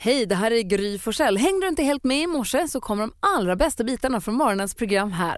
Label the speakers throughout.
Speaker 1: Hej, det här är Gry Forssell. Hängde du inte helt med i morse så kommer de allra bästa bitarna från morgonens program här.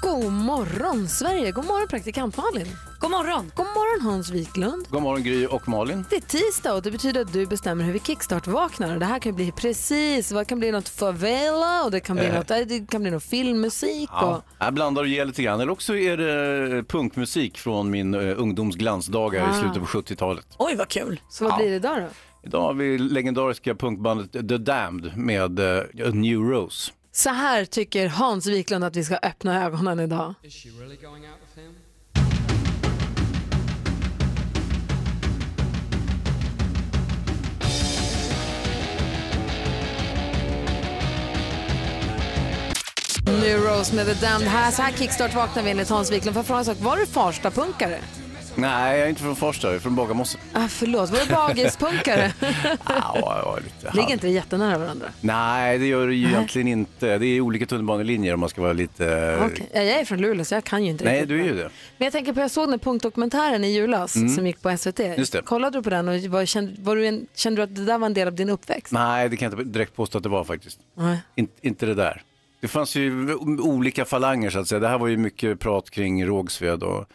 Speaker 1: God morgon, Sverige! God morgon, praktikant Malin!
Speaker 2: God morgon!
Speaker 1: God morgon, Hans Wiklund!
Speaker 3: God morgon Gry och Malin.
Speaker 1: Det är tisdag och det betyder att du bestämmer hur vi kickstart-vaknar. Det här kan bli precis, vad kan bli något favela och det kan bli,
Speaker 3: Eh.
Speaker 1: något, det kan bli något filmmusik.
Speaker 3: Ja,
Speaker 1: Och...
Speaker 3: jag blandar och ger lite grann. Eller också är det eh, punkmusik från min eh, ungdoms glansdagar
Speaker 1: Ah.
Speaker 3: i slutet på 70-talet.
Speaker 2: Oj, vad kul!
Speaker 1: Så vad
Speaker 3: Ja.
Speaker 1: blir det idag då?
Speaker 3: Idag har vi legendariska punkbandet The Damned med eh, A New Rose.
Speaker 1: Så här tycker Hans Wiklund att vi ska öppna ögonen idag.
Speaker 4: Is she really going out with him?
Speaker 1: Nu Rose med The Damned. Här, så här kickstart vaknar vi enligt Hans Wiklund. För fråga en sak, var du Farsta-punkare?
Speaker 3: Nej, jag är inte från Farsta, jag är från Bagarmossen.
Speaker 1: Ah, förlåt, var du Bagis-punkare?
Speaker 3: Ah, ja, ja, lite halv-
Speaker 1: Ligger inte det jättenära varandra?
Speaker 3: Nej, det gör det ju egentligen inte. Det är olika tunnelbanelinjer om man ska vara lite... eh,
Speaker 1: Okej, ja, Jag är från Luleå så jag kan ju inte
Speaker 3: Nej,
Speaker 1: riktigt.
Speaker 3: du är ju det.
Speaker 1: Men jag tänker på, jag såg den punktdokumentären i julas som gick på SVT.
Speaker 3: Just det.
Speaker 1: Kollade du på den och var, kände, var du en, kände du att det där var en del av din uppväxt?
Speaker 3: Nej, det kan jag inte direkt påstå att det var faktiskt.
Speaker 1: Nej.
Speaker 3: In, inte det där. Det fanns ju olika falanger så att säga. Det här var ju mycket prat kring Rågsved och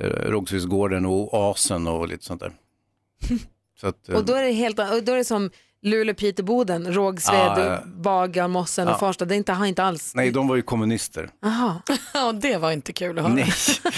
Speaker 3: eh, Rågsvedsgården och Oasen och lite sånt där. Så att, eh,
Speaker 1: Och då är det helt och då är det som Luleå, Piteå, Boden, Rågsved,
Speaker 3: Ja, ja.
Speaker 1: Bagarmossen och
Speaker 3: Ja.
Speaker 1: Farsta. Det är inte, har inte alls...
Speaker 3: Nej, de var ju kommunister.
Speaker 1: Aha.
Speaker 2: Ja, det var inte kul att höra.
Speaker 3: Nej.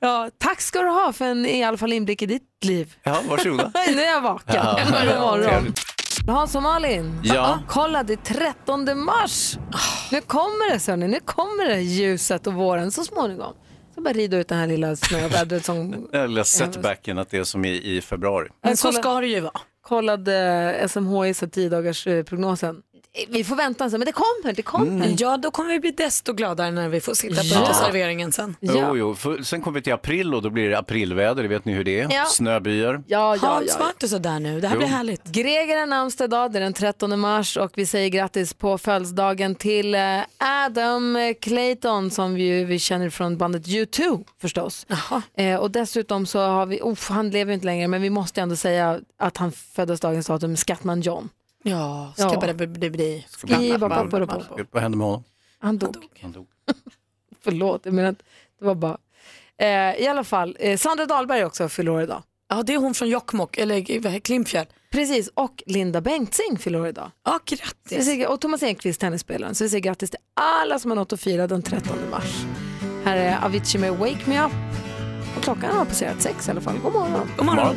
Speaker 1: Ja, tack ska du ha för en i alla fall inblick i ditt liv.
Speaker 3: Ja, varsågoda.
Speaker 1: Nej, nu är jag vaken.
Speaker 3: Ja,
Speaker 1: God morgon.
Speaker 3: trevligt.
Speaker 1: Hans och Malin,
Speaker 3: Ja.
Speaker 1: kolla det är 13 mars.
Speaker 2: Ah.
Speaker 1: Nu kommer det Sonny, nu kommer det ljuset och våren så småningom. Så bara rida ut den här lilla snövädret som
Speaker 3: Eller setbacken att det är som i, i februari.
Speaker 2: Men så
Speaker 1: kolla-
Speaker 2: ska det ju vara.
Speaker 1: kollade SMHI så 10 dagars eh, prognosen. Vi får vänta sen, men det kommer, det kommer.
Speaker 2: Ja, då kommer vi bli desto gladare när vi får sitta på
Speaker 1: Mm. Ja.
Speaker 2: uteserveringen sen.
Speaker 3: Jo, jo. För, sen kommer vi till april och då blir det aprilväder, det vet ni hur det är.
Speaker 1: Ja.
Speaker 3: Snöbyar.
Speaker 1: Ja, ja,
Speaker 2: Hans,
Speaker 1: ja.
Speaker 2: var inte så där nu. Det här
Speaker 3: Jo.
Speaker 2: blir härligt.
Speaker 1: Greger är namnsdag idag, det är den 13 mars och vi säger grattis på födelsedagen till eh, Adam Clayton som vi, ju- vi känner från bandet U2 förstås. Eh, och dessutom så har vi, oh, han lever ju inte längre men vi måste ändå säga att han föddes dagens datum, Skattman John.
Speaker 2: Ja,
Speaker 1: Ja.
Speaker 2: ska bara bli- bli... bli.
Speaker 1: Skriva papper och papper.
Speaker 3: Vad hände med honom?
Speaker 1: Han dog.
Speaker 3: Han dog.
Speaker 1: Förlåt, jag menar att det var bara. Eh, I alla fall, eh, Sandra Dahlberg också fyller år idag.
Speaker 2: Ja, det är hon från Jokkmokk, eller eh, vad heter- Klimpfjäll.
Speaker 1: Precis, och Linda Bengtzing fyller år idag.
Speaker 2: Ja,
Speaker 1: Så vi
Speaker 2: grattis.
Speaker 1: säger, och Thomas Enqvist, tennisspelaren. Så vi säger grattis till alla som har något att fira den 13 mars. Här är Avicii med Wake Me Up. Och klockan har passerat sex i alla fall. God morgon.
Speaker 2: God morgon.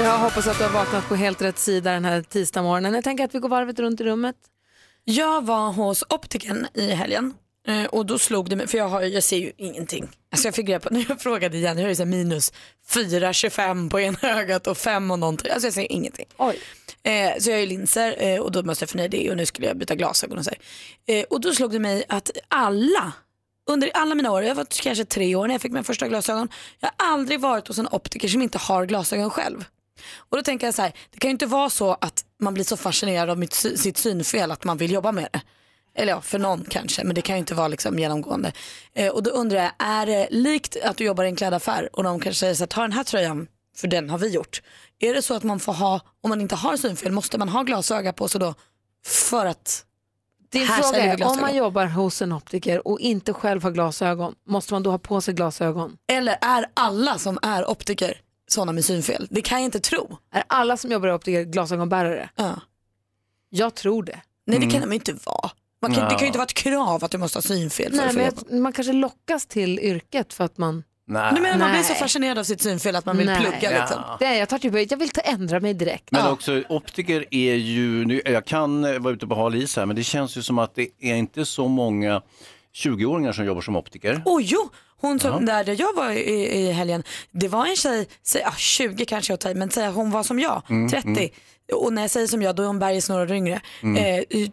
Speaker 1: Jag hoppas att du har vaknat på helt rätt sida den här tisdagsmorgonen. Jag tänker att vi går varvet runt i rummet.
Speaker 2: Jag var hos optiken i helgen eh, och då slog det mig, för jag, har, jag ser ju ingenting. Alltså jag fick reda på, när jag frågade igen, jag har ju så här minus 4,25 på ena ögat och 5 och någonting. Alltså jag ser ingenting.
Speaker 1: Oj.
Speaker 2: Eh, så jag har ju linser eh, och då måste jag förnya det och nu skulle jag byta glasögon och så här. Eh, och då slog det mig att alla, under alla mina år, jag var kanske tre år när jag fick mina första glasögon, jag har aldrig varit hos en optiker som inte har glasögon själv. Och då tänker jag så här, det kan ju inte vara så att man blir så fascinerad av mitt, sy- sitt synfel att man vill jobba med det. Eller ja, för någon kanske, men det kan ju inte vara liksom genomgående. Eh, och då undrar jag, är det likt att du jobbar i en klädaffär och någon kanske säger så här, ta den här tröjan, för den har vi gjort. Är det så att man får ha, om man inte har synfel, måste man ha glasöga på sig då för att
Speaker 1: Din
Speaker 2: Här
Speaker 1: fråga
Speaker 2: säljer vi
Speaker 1: är, om man
Speaker 2: glasögon.
Speaker 1: jobbar hos en optiker och inte själv har glasögon, måste man då ha på sig glasögon?
Speaker 2: Eller är alla som är optiker sådana med synfel? Det kan jag inte tro.
Speaker 1: Är alla som jobbar i optiker glasögonbärare?
Speaker 2: Ja.
Speaker 1: Jag tror det.
Speaker 2: Nej det kan de inte vara. Man kan, Det kan ju
Speaker 3: Ja.
Speaker 2: inte vara ett krav att du måste ha synfel. För
Speaker 1: Nej,
Speaker 2: att få
Speaker 1: men
Speaker 2: jobba.
Speaker 1: jag, man kanske lockas till yrket för att man...
Speaker 3: Nej.
Speaker 2: Nej, men man blir
Speaker 1: Nej.
Speaker 2: så fascinerad av sitt synfel att man vill
Speaker 1: Nej.
Speaker 2: plugga liksom.
Speaker 3: Ja.
Speaker 1: Det är, jag tar typ, jag vill ta, ändra mig direkt.
Speaker 3: Ah. Men också optiker är ju, nu, jag kan eh, vara ute på hal is här, men det känns ju som att det är inte så många 20-åringar som jobbar som optiker.
Speaker 2: Åh jo, hon som, där, där jag var i, i helgen, det var en tjej, säg, ah, 20 kanske jag tar i, men säg, att hon var som jag,
Speaker 3: Mm,
Speaker 2: 30. Och när jag säger som jag då är hon bergis några år yngre.
Speaker 3: Mm.
Speaker 2: Eh, i-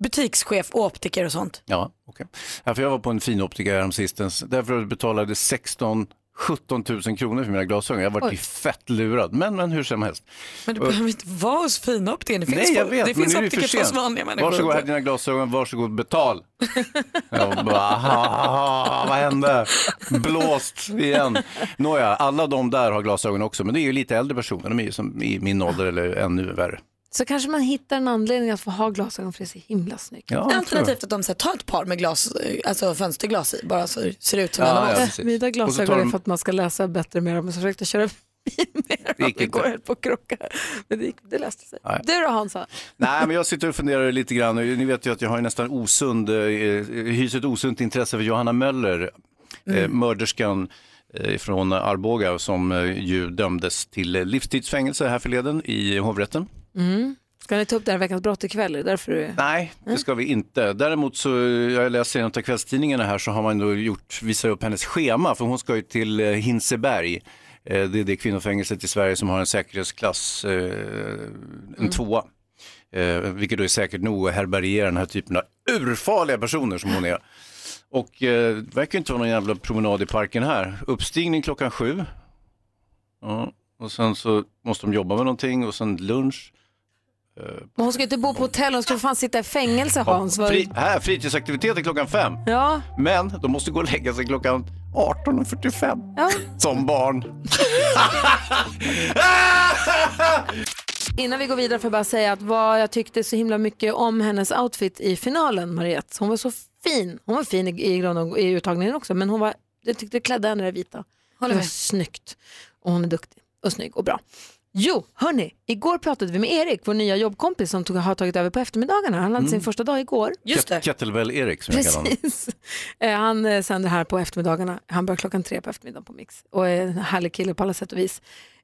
Speaker 2: butikschef, och optiker och sånt.
Speaker 3: Ja, okej. Ja, för jag var på en fin optiker häromsistens. Därför betalade 16 17 000 kronor för mina glasögon. Jag har varit
Speaker 1: Oj.
Speaker 3: fett lurad. Men, men hur som helst.
Speaker 2: Men du behöver inte vara hos finoptiker. Det finns,
Speaker 3: Nej, jag
Speaker 2: folk-
Speaker 3: vet,
Speaker 2: det
Speaker 3: men
Speaker 2: finns
Speaker 3: nu är det för
Speaker 2: optiker
Speaker 3: sent.
Speaker 2: hos vanliga människor.
Speaker 3: Varsågod, här är dina glasögon, varsågod, betal. Jag bara, "Aha, vad hände? Blåst igen. Nåja, alla de där har glasögon också, men det är ju lite äldre personer, de är ju som i min ålder eller ännu värre.
Speaker 1: Så kanske man hittar en anledning att få ha glasögon för det är så himla snyggt.
Speaker 3: Ja, jag tror
Speaker 2: Alternativt att de säger ta ett par med glas, alltså fönsterglas i, bara så det ser ut som
Speaker 3: Ja,
Speaker 2: en av
Speaker 3: ja.
Speaker 2: oss.
Speaker 3: precis.
Speaker 1: Mina
Speaker 3: Och så tar
Speaker 1: glasögon
Speaker 3: de-
Speaker 1: är för att man ska läsa bättre med dem. Så jag försökte köra bil med dem.
Speaker 3: Det gick
Speaker 1: Det
Speaker 3: inte.
Speaker 1: går helt på krockar. Men det, gick, det löste sig.
Speaker 3: Nej.
Speaker 1: Du då Hansa?
Speaker 3: Nej, men jag sitter och funderar lite grann. Ni vet ju att jag har ju nästan osund, eh, hyser ett osunt intresse för Johanna Möller, eh,
Speaker 2: Mm.
Speaker 3: mörderskan eh, från Arboga som eh, ju dömdes till eh, livstidsfängelse här förleden i hovrätten.
Speaker 1: Mm. Ska ni ta upp den här veckans brott ikväll? Är det därför du...
Speaker 3: Nej, det ska vi inte. Däremot så, jag läser i en av kvällstidningarna här, så har man då gjort, visar upp hennes schema, för hon ska ju till eh, Hinseberg. Eh, Det är det kvinnofängelset i Sverige som har en säkerhetsklass, eh, en tvåa. Eh, Vilket då är säkert nog att härbärgera den här typen av urfarliga personer som hon är. Och eh, det verkar ju inte vara någon jävla promenad i parken här. Uppstigning klockan sju. Ja, och sen så måste de jobba med någonting och sen lunch.
Speaker 1: Men hon ska ju inte bo på hotell, hon ska för fan sitta i fängelse Hans. Var...
Speaker 3: Fri, här, fritidsaktiviteter klockan fem.
Speaker 1: Ja,
Speaker 3: Men de måste gå och lägga sig klockan 18.45.
Speaker 1: ja.
Speaker 3: Som barn.
Speaker 1: Innan vi går vidare får jag bara säga att vad jag tyckte så himla mycket om hennes outfit i finalen, Mariette. Hon var så fin. Hon var fin i, i, grund- i uttagningen också, men hon var, jag tyckte klädde henne i det vita. det var snyggt. Och hon är duktig och snygg och bra. Jo, hörni, igår pratade vi med Erik, vår nya jobbkompis som tog, har tagit över på eftermiddagarna. Han hade sin första dag igår.
Speaker 2: Just det.
Speaker 3: Kettlebell-Erik som jag kallar honom.
Speaker 1: Precis. Eh, Han eh, sänder här på eftermiddagarna. Han börjar klockan tre på eftermiddagen på Mix och är en härlig kille på alla sätt och vis.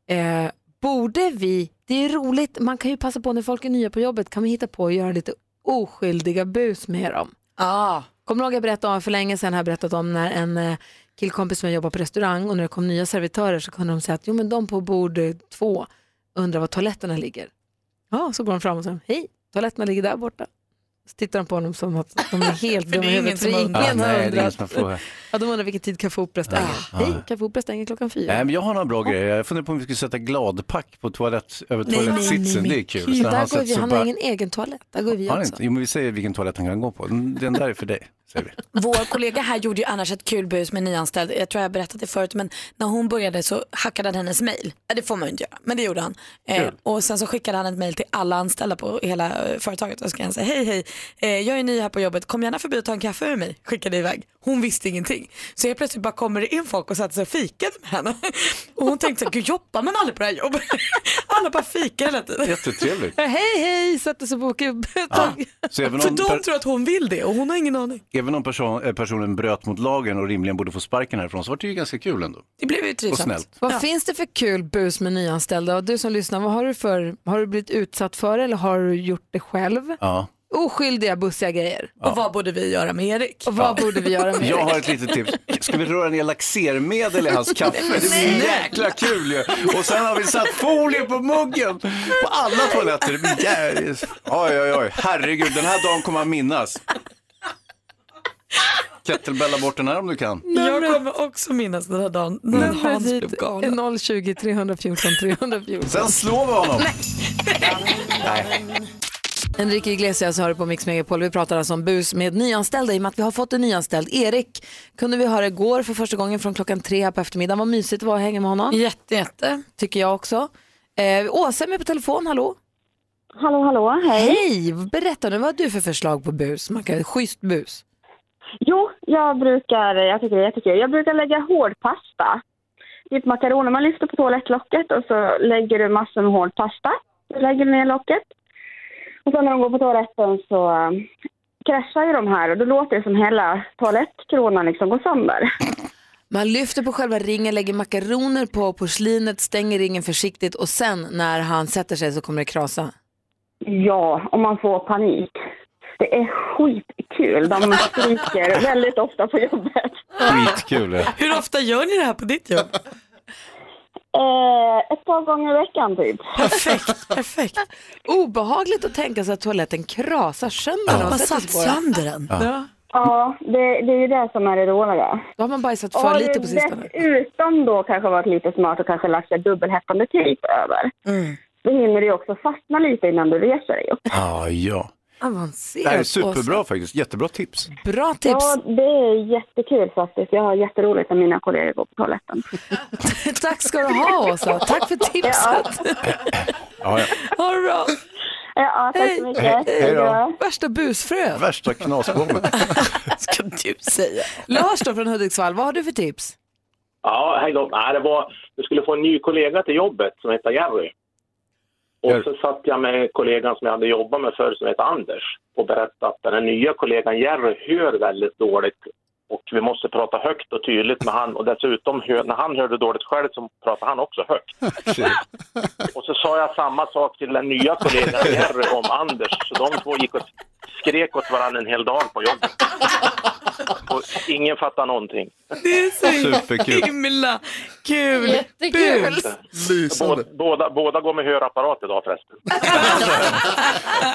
Speaker 1: Eh, borde vi, det är roligt, man kan ju passa på när folk är nya på jobbet, kan vi hitta på att göra lite oskyldiga bus med dem.
Speaker 2: Ah,
Speaker 1: Kommer du ihåg jag berättade om, för länge sedan har jag berättat om när en eh, killkompis som jag jobbade på restaurang och när det kom nya servitörer så kunde de säga att jo men de på bord eh, två undrar var toaletterna ligger. Ja, så går de fram och säger hej, toaletterna ligger där borta. Så tittar de på honom som att de är helt
Speaker 2: det är
Speaker 1: dumma i
Speaker 2: ingen
Speaker 1: huvudet. För
Speaker 2: som har
Speaker 1: ingen
Speaker 2: undrat.
Speaker 1: har
Speaker 3: Ah, nej, det är ingen
Speaker 1: undrat.
Speaker 3: som har frågat.
Speaker 2: Mm.
Speaker 1: Ja, de undrar vilken tid Café Opera stänger.
Speaker 3: Ah.
Speaker 1: Hej, Café Opera stänger klockan fyra.
Speaker 3: Nej, men jag har några bra grejer. Jag funderar på om vi skulle sätta gladpack på toalett, över
Speaker 2: Nej, nej, nej,
Speaker 3: toalettsitsen. Det
Speaker 2: nej.
Speaker 3: är
Speaker 1: Där
Speaker 3: kul. Så
Speaker 1: han, går
Speaker 3: sätter
Speaker 1: vi,
Speaker 3: sig
Speaker 1: han
Speaker 3: bara-
Speaker 1: har ingen egen toalett, där går vi
Speaker 3: Har han
Speaker 1: också.
Speaker 3: inte? Jo, men vi säger vilken toalett han kan gå på. Den där är för dig, säger vi.
Speaker 2: vår kollega här gjorde ju annars ett kul bus med nyanställd. Jag tror jag har berättat det förut men när hon började så hackade han hennes mail. Ja, det får man ju inte göra men det gjorde han. Eh,
Speaker 3: Kul.
Speaker 2: och sen så skickade han ett mail till alla anställda på hela eh, företaget och så kan han säga hej hej eh, jag är ny här på jobbet kom gärna förbi och ta en kaffe med mig. Skickade iväg. Hon visste ingenting. Så helt plötsligt bara kommer det in folk och sätter sig och fikade med henne. Och hon tänkte så här, gud jobbar man aldrig på det här jobbet? Alla bara fikar hela tiden.
Speaker 3: Jättetrevligt.
Speaker 1: Ja, Hej, hej, sätter sig på
Speaker 3: Ja.
Speaker 1: ja.
Speaker 3: Så även
Speaker 2: För
Speaker 3: om,
Speaker 2: de
Speaker 3: per,
Speaker 2: tror att hon vill det och hon har ingen aning.
Speaker 3: även om person, eh, personen bröt mot lagen och rimligen borde få sparken härifrån så var det ju ganska kul ändå.
Speaker 2: Det blev ju
Speaker 3: Och
Speaker 2: trivsamt.
Speaker 3: snällt.
Speaker 1: Vad finns det för kul bus med nyanställda? Och du som lyssnar, vad har du för, har du blivit utsatt för eller har du gjort det själv?
Speaker 3: Ja.
Speaker 1: Oskyldiga bussiga grejer.
Speaker 2: Och vad borde vi göra med Erik?
Speaker 1: Och vad borde vi göra med
Speaker 3: Jag
Speaker 1: det?
Speaker 3: har ett litet tips. Ska vi röra ner laxermedel i hans kaffe? Det blir jäkla kul ju. Och sen har vi satt folie på muggen på alla toaletter. Det blir jä- Oj, oj, oj. Herregud, den här dagen kommer han minnas. Kettlebella bort den här om du kan.
Speaker 2: Jag kommer också minnas den här dagen när Hans
Speaker 1: Numret
Speaker 2: blev
Speaker 1: hit
Speaker 2: galen.
Speaker 1: är 020 314 314.
Speaker 3: Sen slår vi honom. Nej.
Speaker 1: Enrique Iglesias hör på Mix Megapol. Vi pratar alltså om bus med nyanställda i och med att vi har fått en nyanställd. Erik kunde vi höra igår för första gången från klockan tre här på eftermiddagen. Vad mysigt det var att hänga med honom,
Speaker 2: Jätte, jätte.
Speaker 1: tycker jag också. Eh, Åsa är med på telefon, hallå?
Speaker 5: Hallå, hallå, hej.
Speaker 1: Hej! Berätta nu, vad har du för förslag på bus? Man kan, schysst bus.
Speaker 5: Jo, jag brukar, jag tycker det är jättekul, jag brukar lägga hårdpasta. Typ makaroner, man lyfter på toalettlocket och så lägger du massor med hårdpasta. Så lägger du ner locket. Och sen när de går på toaletten så eh, kraschar ju de här och då låter det som hela toalettkronan liksom går sönder.
Speaker 1: Man lyfter på själva ringen, lägger makaroner på porslinet, stänger ringen försiktigt och sen när han sätter sig så kommer det krasa.
Speaker 5: Ja, och man får panik. Det är skitkul. De skriker väldigt ofta på jobbet.
Speaker 3: Skitkul. ju.
Speaker 2: Hur ofta gör ni det här på ditt jobb?
Speaker 5: Eh, ett par gånger i veckan typ.
Speaker 2: Perfekt, perfekt.
Speaker 1: Obehagligt att tänka sig att toaletten krasar sönder. när man
Speaker 2: Bara
Speaker 1: sätter sig
Speaker 2: satt
Speaker 1: på den.
Speaker 2: sönder den.
Speaker 1: Ja.
Speaker 6: Ja, det, det är ju det som är det dåliga.
Speaker 1: Då har man bajsat
Speaker 6: Och har
Speaker 1: för lite
Speaker 6: du
Speaker 1: på sistone.
Speaker 6: dessutom då kanske varit lite smart och kanske lagt en dubbelhäftande tejp över.
Speaker 1: Mm.
Speaker 6: Då hinner du ju också fastna lite innan du reser dig upp.
Speaker 3: Ah, ja. Det
Speaker 1: Avancerat.
Speaker 3: här är
Speaker 1: och
Speaker 3: superbra faktiskt, jättebra tips.
Speaker 1: så- Bra tips.
Speaker 6: Ja, det är jättekul faktiskt. Jag har jätteroligt när mina kollegor går på toaletten.
Speaker 1: Tack ska du ha Åsa. Tack för tipset.
Speaker 3: Ja, ja.
Speaker 1: Ha det bra.
Speaker 6: Ja, tack så mycket.
Speaker 3: Hej- hej då.
Speaker 1: Värsta busfrö.
Speaker 3: Värsta knasbomben.
Speaker 2: Ska du säga.
Speaker 1: Lars då från Hudiksvall, vad har du för tips?
Speaker 7: Ja, hej då. Nej, det var, vi skulle få en ny kollega till jobbet som heter Jerry. Och så satt jag med kollegan som jag hade jobbat med förr som heter Anders och berättade att den här nya kollegan Jerry hör väldigt dåligt och vi måste prata högt och tydligt med han och dessutom hör, när han hörde dåligt själv så pratade han också högt. Och så sa jag samma sak till den nya kollegan Jerry om Anders, så de två gick och skrek åt varandra en hel dag på jobbet. Och ingen fattade någonting.
Speaker 2: Det är så
Speaker 3: Superkul.
Speaker 2: himla kul.
Speaker 1: Jättekul.
Speaker 2: Bus.
Speaker 7: Båda, båda, båda går med hörapparat idag förresten.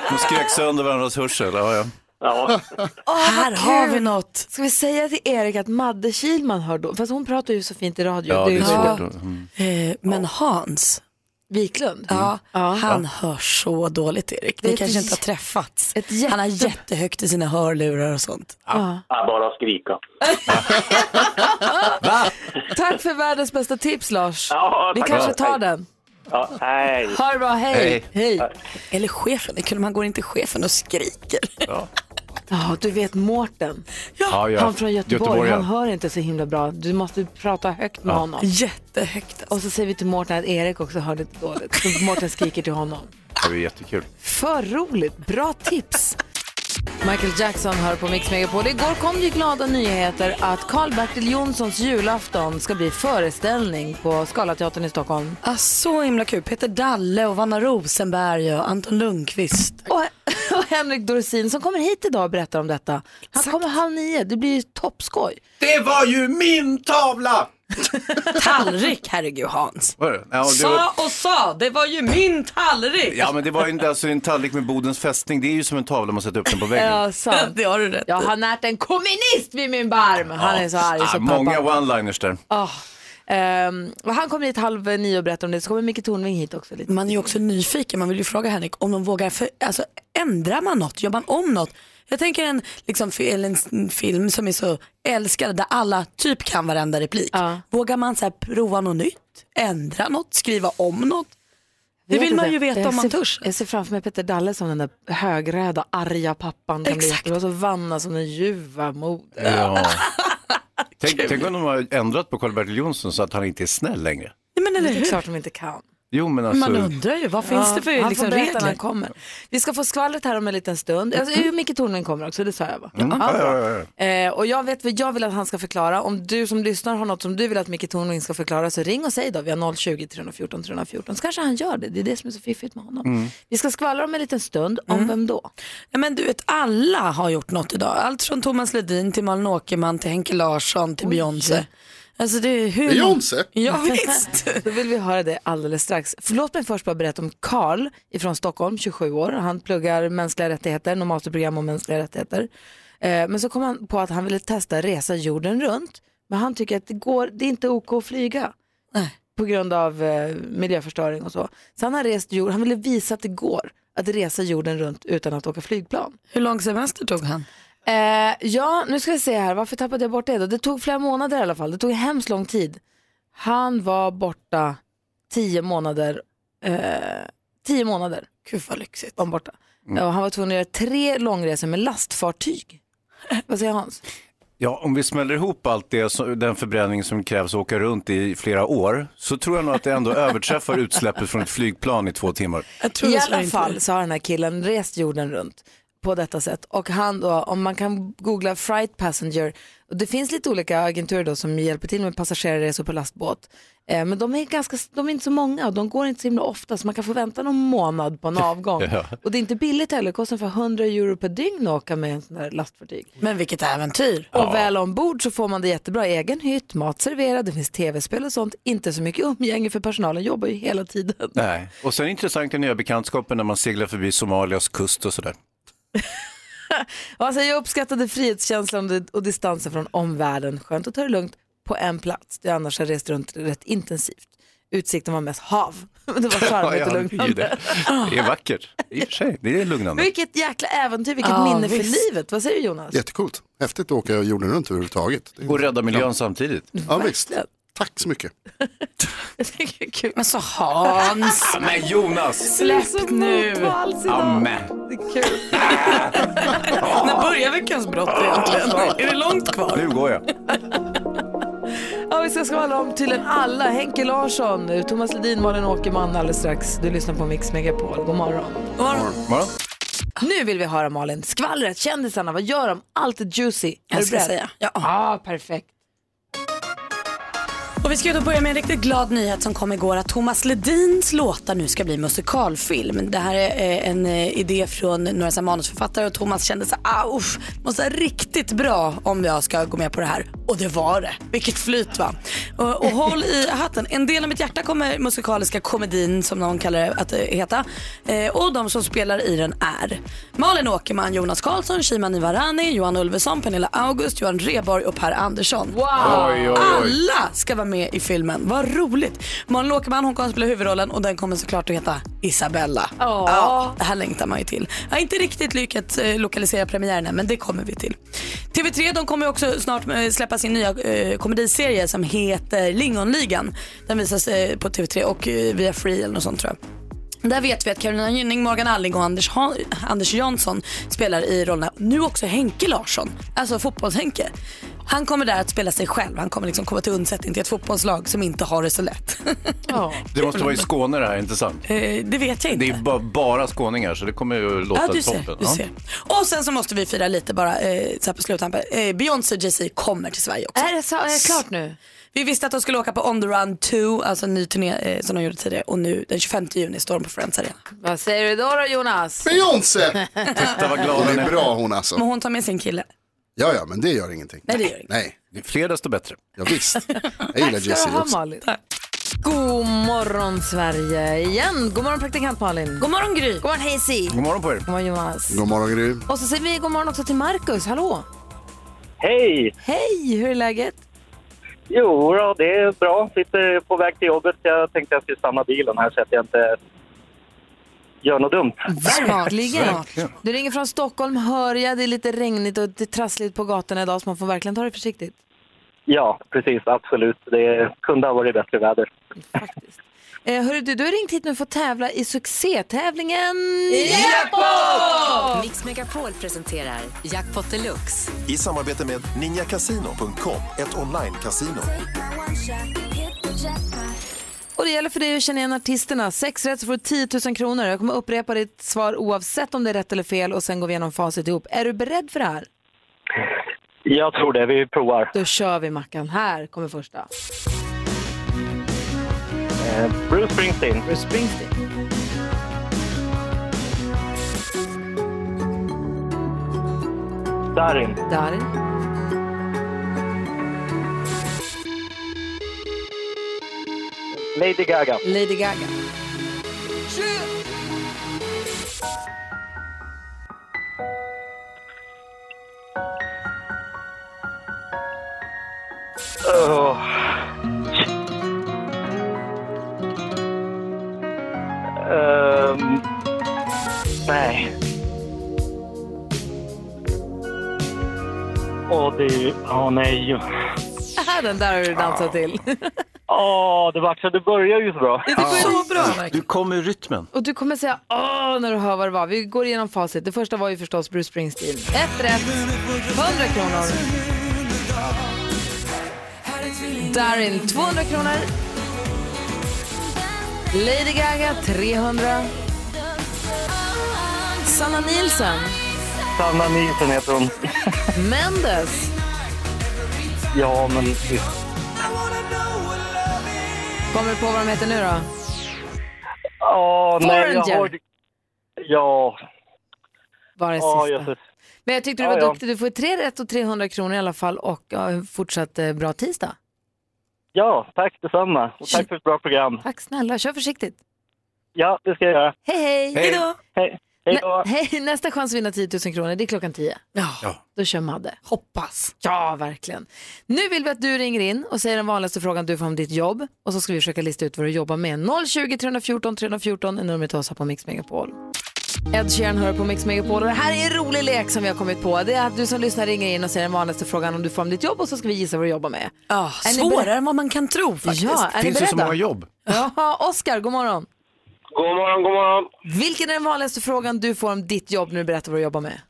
Speaker 3: De skrek sönder varandras hörsel. Ja, ja.
Speaker 7: Ja,
Speaker 2: Här har vi något.
Speaker 1: Ska vi säga till Erik att Madde Kilman hör då? Fast hon pratar ju så fint i radio.
Speaker 3: ja det är
Speaker 1: ju-
Speaker 3: svårt. att- Mm.
Speaker 2: Eh, Men Hans,
Speaker 1: Wiklund.
Speaker 2: ja,
Speaker 1: Ja.
Speaker 2: han hör så dåligt Erik.
Speaker 1: Det är
Speaker 2: Ni
Speaker 1: ett
Speaker 2: kanske inte har
Speaker 1: jä-
Speaker 2: träffats.
Speaker 1: ett jätte-
Speaker 2: Han har jättehögt i sina hörlurar och sånt.
Speaker 1: Ja.
Speaker 7: ja, bara skrika.
Speaker 1: Tack för världens bästa tips Lars.
Speaker 7: Ja,
Speaker 1: Vi
Speaker 7: tack.
Speaker 1: kanske tar
Speaker 7: Hej.
Speaker 1: den.
Speaker 7: Ja, hej.
Speaker 1: Ha det bra, hej.
Speaker 3: Hej.
Speaker 1: hej.
Speaker 2: Eller chefen, det kunde man går in till chefen och skriker.
Speaker 1: Ja, du vet Mårten,
Speaker 3: Ja, ja.
Speaker 1: han från Göteborg,
Speaker 3: ja.
Speaker 1: han hör inte så himla bra. Du måste prata högt med honom.
Speaker 2: Jättehögt.
Speaker 1: Och så säger vi till Mårten att Erik också hör lite dåligt. Så Mårten skriker till honom.
Speaker 3: Det var jättekul.
Speaker 1: För roligt, bra tips. Michael Jackson hör på Mix Megapol. Igår kom det glada nyheter att Carl-Bertil Jonssons julafton ska bli föreställning på Scalateatern i Stockholm.
Speaker 2: Ah, så himla kul. Peter Dalle och Vanna Rosenberg och Anton Lundqvist.
Speaker 1: Och, och Henrik Dorsin som kommer hit idag och berättar om detta. Han kommer halv nio, det blir ju toppskoj.
Speaker 3: Det var ju min tavla!
Speaker 2: Tallrik, herregud Hans.
Speaker 3: Var det? Ja, det var...
Speaker 2: och sa, det var ju min tallrik.
Speaker 3: Ja, men det var ju inte alltså en tallrik med Bodens fästning. Det är ju som en tavla man sätter upp den på väggen.
Speaker 1: Ja, sant.
Speaker 2: Det har du rätt
Speaker 1: Jag
Speaker 2: i.
Speaker 1: har närt en kommunist vid min barm. Han är så arg så
Speaker 3: Ah,
Speaker 1: pappa.
Speaker 3: många one-liners där.
Speaker 1: Ah. Ehm, och han kommer hit halv nio och berättar om det. Så kommer Micke Tornving hit också. Lite.
Speaker 2: Man är ju också nyfiken, man vill ju fråga Henrik om de vågar, för, alltså ändrar man något, gör man om något? Jag tänker en, liksom, fi- eller en s- film som är så älskad där alla typ kan varenda replik.
Speaker 1: Ja.
Speaker 2: Vågar man så här, prova något nytt, ändra något, skriva om något? Det
Speaker 1: Jag vet
Speaker 2: vill man
Speaker 1: inte.
Speaker 2: ju veta
Speaker 1: Jag
Speaker 2: om man
Speaker 1: ser-
Speaker 2: törs.
Speaker 1: Jag ser framför mig Peter Dalle som den där högrädda, arga pappan. kan bli.
Speaker 2: Exakt.
Speaker 1: Och så Vanna som den ljuva modern.
Speaker 3: Ja. Tänk, tänk om de har ändrat på Karl-Bertil Jonsson så att han inte är snäll längre.
Speaker 2: Nej, men eller
Speaker 1: Det är
Speaker 2: hur?
Speaker 1: klart de inte kan.
Speaker 3: Jo, men alltså...
Speaker 2: Man undrar ju, vad finns det
Speaker 1: Ja,
Speaker 2: för
Speaker 1: han
Speaker 2: liksom,
Speaker 1: får berätta när han
Speaker 2: regler?
Speaker 1: kommer. Vi ska få skvallret här om en liten stund. Alltså, mm. Micke Tornving kommer också, det sa jag va?
Speaker 3: Mm, ja, ja, ja.
Speaker 1: Eh, och jag vet vad jag vill att han ska förklara. Om du som lyssnar har något som du vill att Micke Tornving ska förklara så ring och säg då. Vi har 020 314 314 så kanske han gör det. Det är det som är så fiffigt med honom. Vi ska skvallra om en liten stund. Om vem då?
Speaker 2: Mm. Ja, men du vet, alla har gjort något idag. Allt från Thomas Ledin till Malin Åkerman till Henke Larsson till Beyoncé. Alltså det är hur...
Speaker 8: Beyoncé?
Speaker 2: Ja, visst.
Speaker 1: Då vill vi höra det alldeles strax. Förlåt mig först bara berätta om Karl ifrån Stockholm, 27 år. Han pluggar mänskliga rättigheter, normalt program om mänskliga rättigheter. Eh, men så kom han på att han ville testa resa jorden runt. Men han tycker att det, går, det är inte OK att flyga.
Speaker 2: Nej.
Speaker 1: På grund av eh, miljöförstöring och så. Så han har rest jord, han ville visa att det går att resa jorden runt utan att åka flygplan.
Speaker 2: Hur lång semester tog han?
Speaker 1: Eh, ja, nu ska vi se här. Varför tappade jag bort det då? Det tog flera månader i alla fall. Det tog hemskt lång tid. Han var borta tio månader. Eh, tio månader
Speaker 2: Gud vad lyxigt.
Speaker 1: var han borta. Och han var tvungen att göra tre långresor med lastfartyg. Vad säger Hans?
Speaker 3: Ja, om vi smäller ihop allt det, så- den förbränning som krävs att åka runt i flera år, så tror jag nog att det ändå överträffar utsläppet från ett flygplan i två timmar.
Speaker 2: Jag tror
Speaker 1: I
Speaker 2: jag svarar
Speaker 1: alla
Speaker 2: inte
Speaker 1: fall så har den här killen rest jorden runt på detta sätt. Och han då, om man kan googla Fright Passenger, och det finns lite olika agenturer då som hjälper till med passagerarresor på lastbåt. Eh, men de är, ganska, de är inte så många och de går inte så himla ofta så man kan få vänta någon månad på en avgång. Och det är inte billigt heller, det kostar ungefär 100 euro per dygn att åka med en sån här lastfartyg.
Speaker 2: Men vilket äventyr.
Speaker 1: Och väl ombord så får man det jättebra. Egen hytt, mat serverad, det finns tv-spel och sånt. Inte så mycket umgänge för personalen jobbar ju hela tiden.
Speaker 3: Nej. Och sen intressant den nya bekantskapen när man seglar förbi Somalias kust och sådär.
Speaker 1: alltså, jag uppskattade frihetskänslan och- och distansen från omvärlden. Skönt att ta det lugnt på en plats. Det annars har jag rest runt rätt intensivt. Utsikten var mest hav. Det var charmigt och
Speaker 3: det är ju
Speaker 1: lugnande.
Speaker 3: det. Det är vackert. I och för sig, det är lugnande.
Speaker 1: Vilket jäkla äventyr, vilket
Speaker 2: Ja,
Speaker 1: minne
Speaker 2: visst.
Speaker 1: för livet. Vad säger du Jonas?
Speaker 7: Jättecoolt. Häftigt att åka jorden runt överhuvudtaget. Det är-
Speaker 3: Och rädda miljön samtidigt.
Speaker 7: ja, visst. Tack så mycket.
Speaker 1: Jag tycker det är kul.
Speaker 2: Men så Hans,
Speaker 3: Men Jonas!
Speaker 2: släpp nu.
Speaker 3: Amen.
Speaker 1: Det är kul.
Speaker 2: När börjar veckans brott egentligen? Är det långt kvar?
Speaker 3: Nu går jag.
Speaker 1: Ja, vi ska skvallra om tydligen alla. Henke Larsson, eh, Thomas Ledin, Malin Åkerman alldeles strax. Du lyssnar på Mix Megapol. God morgon.
Speaker 3: Morgon.
Speaker 1: Nu vill vi höra Malin, skvallret, kändisarna, vad gör de? Allt är juicy. Är
Speaker 2: Jag
Speaker 1: du
Speaker 2: ska
Speaker 1: beredd?
Speaker 2: säga. Ja.
Speaker 1: Ja, perfekt.
Speaker 2: Och vi ska då börja med en riktigt glad nyhet som kom igår att Thomas Ledins låtar nu ska bli musikalfilm. Det här är eh, en eh, idé från några så här manusförfattare och Thomas kände så här, ah, usch, måste vara riktigt bra om jag ska gå med på det här. Och det var det. Vilket flyt va. Och, och håll i hatten. En del av mitt hjärta kommer musikaliska komedin som någon kallar det att eh, heta. Eh, och de som spelar i den är Malin Åkerman, Jonas Karlsson, Shima Varani, Johan Ulveson, Pernilla August, Johan Rheborg och Per Andersson.
Speaker 3: Oj, oj, oj.
Speaker 2: Alla ska vara med i filmen. Vad roligt. Malin Åkerman hon kommer att spela huvudrollen och den kommer såklart att heta Isabella. Ja, det här längtar man ju till. Jag har inte riktigt lyckats eh, lokalisera premiären än, men det kommer vi till. TV3 de kommer ju också snart eh, släppa sin nya eh, komediserie som heter Lingonligan. Den visas eh, på TV3 och eh, via Free eller något sånt tror jag. Där vet vi att Carolina Gynning, Morgan Alling och Anders, ha- Anders Jansson spelar i rollerna. Nu också Henke Larsson, alltså fotbolls-Henke. Han kommer där att spela sig själv. Han kommer liksom komma till undsättning till ett fotbollslag som inte har det så lätt.
Speaker 1: Ja.
Speaker 3: Det måste vara i Skåne det här, inte sant?
Speaker 2: Eh, det vet jag inte.
Speaker 3: Det är ba- bara skåningar så det kommer ju låta
Speaker 2: Ja, du ser,
Speaker 3: toppen.
Speaker 2: du ser. Och sen så måste vi fira lite bara eh, så här på sluttampen. Eh, Beyoncé och Jay-Z kommer till Sverige också.
Speaker 1: Är det så, är det klart nu?
Speaker 2: Vi visste att de skulle åka på On the Run 2, alltså en ny turné eh, som de gjorde tidigare. Och nu den 25 juni står de på Friends Arena.
Speaker 1: Vad säger du då, då Jonas?
Speaker 7: Beyoncé!
Speaker 3: Titta vad glad
Speaker 7: Hon
Speaker 3: den
Speaker 7: är
Speaker 3: är.
Speaker 7: bra hon alltså.
Speaker 2: Men hon tar med sin kille.
Speaker 7: Ja, ja, men det gör ingenting.
Speaker 2: Nej, det gör inget.
Speaker 7: Nej,
Speaker 3: Fler desto bättre.
Speaker 7: ja, visst. Jag gillar
Speaker 1: Tack ska du
Speaker 7: Jesse
Speaker 1: ha
Speaker 7: också.
Speaker 1: Malin. God morgon Sverige igen. God morgon praktikant Malin. God
Speaker 2: God morgon Gry.
Speaker 1: morgon Hazy. God
Speaker 3: God morgon på er.
Speaker 1: morgon Jonas.
Speaker 7: God morgon Gry.
Speaker 1: Och så säger vi god morgon också till Markus. Hallå!
Speaker 9: Hej!
Speaker 1: Hej, hur är läget?
Speaker 9: Jo, då, det är bra. Sitter på väg till jobbet. Jag tänkte jag skulle stanna bilen här så att jag inte gör något dumt.
Speaker 1: Verkligen.
Speaker 3: verkligen.
Speaker 1: Du ringer från Stockholm hör jag. Det är lite regnigt och det är trassligt på gatorna idag så man får verkligen ta det försiktigt.
Speaker 9: Ja, precis. Absolut. Det kunde ha varit bättre väder.
Speaker 1: Faktiskt. Eh, hörru du, du har ringt hit nu för att tävla i succétävlingen
Speaker 10: Mix Megapol presenterar Jackpot Deluxe.
Speaker 11: I samarbete med ninjakasino.com, ett online-casino.
Speaker 1: Och det gäller för dig att känna igen artisterna. Sex rätt så får du 10 000 kronor. Jag kommer upprepa ditt svar oavsett om det är rätt eller fel och sen går vi igenom facit ihop. Är du beredd för det här?
Speaker 9: Jag tror det. Vi provar.
Speaker 1: Då kör vi Mackan. Här kommer första.
Speaker 9: Eh, Bruce Springsteen.
Speaker 1: Bruce Springsteen.
Speaker 9: Darin.
Speaker 1: Darin.
Speaker 9: Lady Gaga.
Speaker 1: Lady Gaga.
Speaker 9: Oh. Ehm, nej. Åh, det är ju... Åh, nej.
Speaker 1: Ah, Den där har du dansat till.
Speaker 9: Åh, det var så... Det börjar ju så bra.
Speaker 2: Så bra.
Speaker 3: Du kom ur rytmen.
Speaker 1: Och du kommer säga åh när du hör vad det var. Vi går igenom facit. Det första var ju förstås Bruce Springsteen. Ett rätt, 100 kronor. Darin, 200 kronor. Lady Gaga, 300. Sanna Nielsen,
Speaker 9: Sanna Nilsson heter hon.
Speaker 1: Mendes,
Speaker 9: Ja, men...
Speaker 1: kommer du på vad de heter nu då?
Speaker 9: Åh, nej. Jag
Speaker 1: Foreigner.
Speaker 9: har... Ja.
Speaker 1: Var det
Speaker 9: Åh,
Speaker 1: sista?
Speaker 9: jösses.
Speaker 1: Men jag tyckte du var
Speaker 9: Ja, ja.
Speaker 1: duktig. Du får tre rätt och 300 kronor i alla fall och ja, en fortsatt eh, bra tisdag.
Speaker 9: Ja, tack detsamma. Och tack för ett bra program.
Speaker 1: Tack snälla, kör försiktigt.
Speaker 9: Ja, det ska jag göra.
Speaker 1: Hej hej!
Speaker 3: Hej.
Speaker 9: Hej. Hej
Speaker 1: Nä-
Speaker 9: då!
Speaker 1: Hej, nästa chans att vinna 10 000 kronor, det är klockan 10.
Speaker 3: Ja.
Speaker 1: Då kör Madde.
Speaker 2: Hoppas.
Speaker 1: Ja, verkligen. Nu vill vi att du ringer in och säger den vanligaste frågan du får om ditt jobb. Och så ska vi försöka lista ut vad du jobbar med. 020 314 314 är numret till oss här på Mix Megapol. Ed Sheeran hör på Mix Megapol och det här är en rolig lek som vi har kommit på. Det är att du som lyssnar ringer in och säger den vanligaste frågan om du får om ditt jobb och så ska vi gissa vad du jobbar med.
Speaker 2: Ja,
Speaker 1: Är ni
Speaker 2: Ah, svårare än vad man kan tro faktiskt.
Speaker 1: Ja, är ni
Speaker 3: Finns det så många
Speaker 1: beredda?
Speaker 3: jobb?
Speaker 1: Ja, Oskar, god morgon.
Speaker 9: God morgon, god morgon!
Speaker 1: Vilken är den vanligaste frågan du får om ditt jobb när du berättar vad du jobbar med?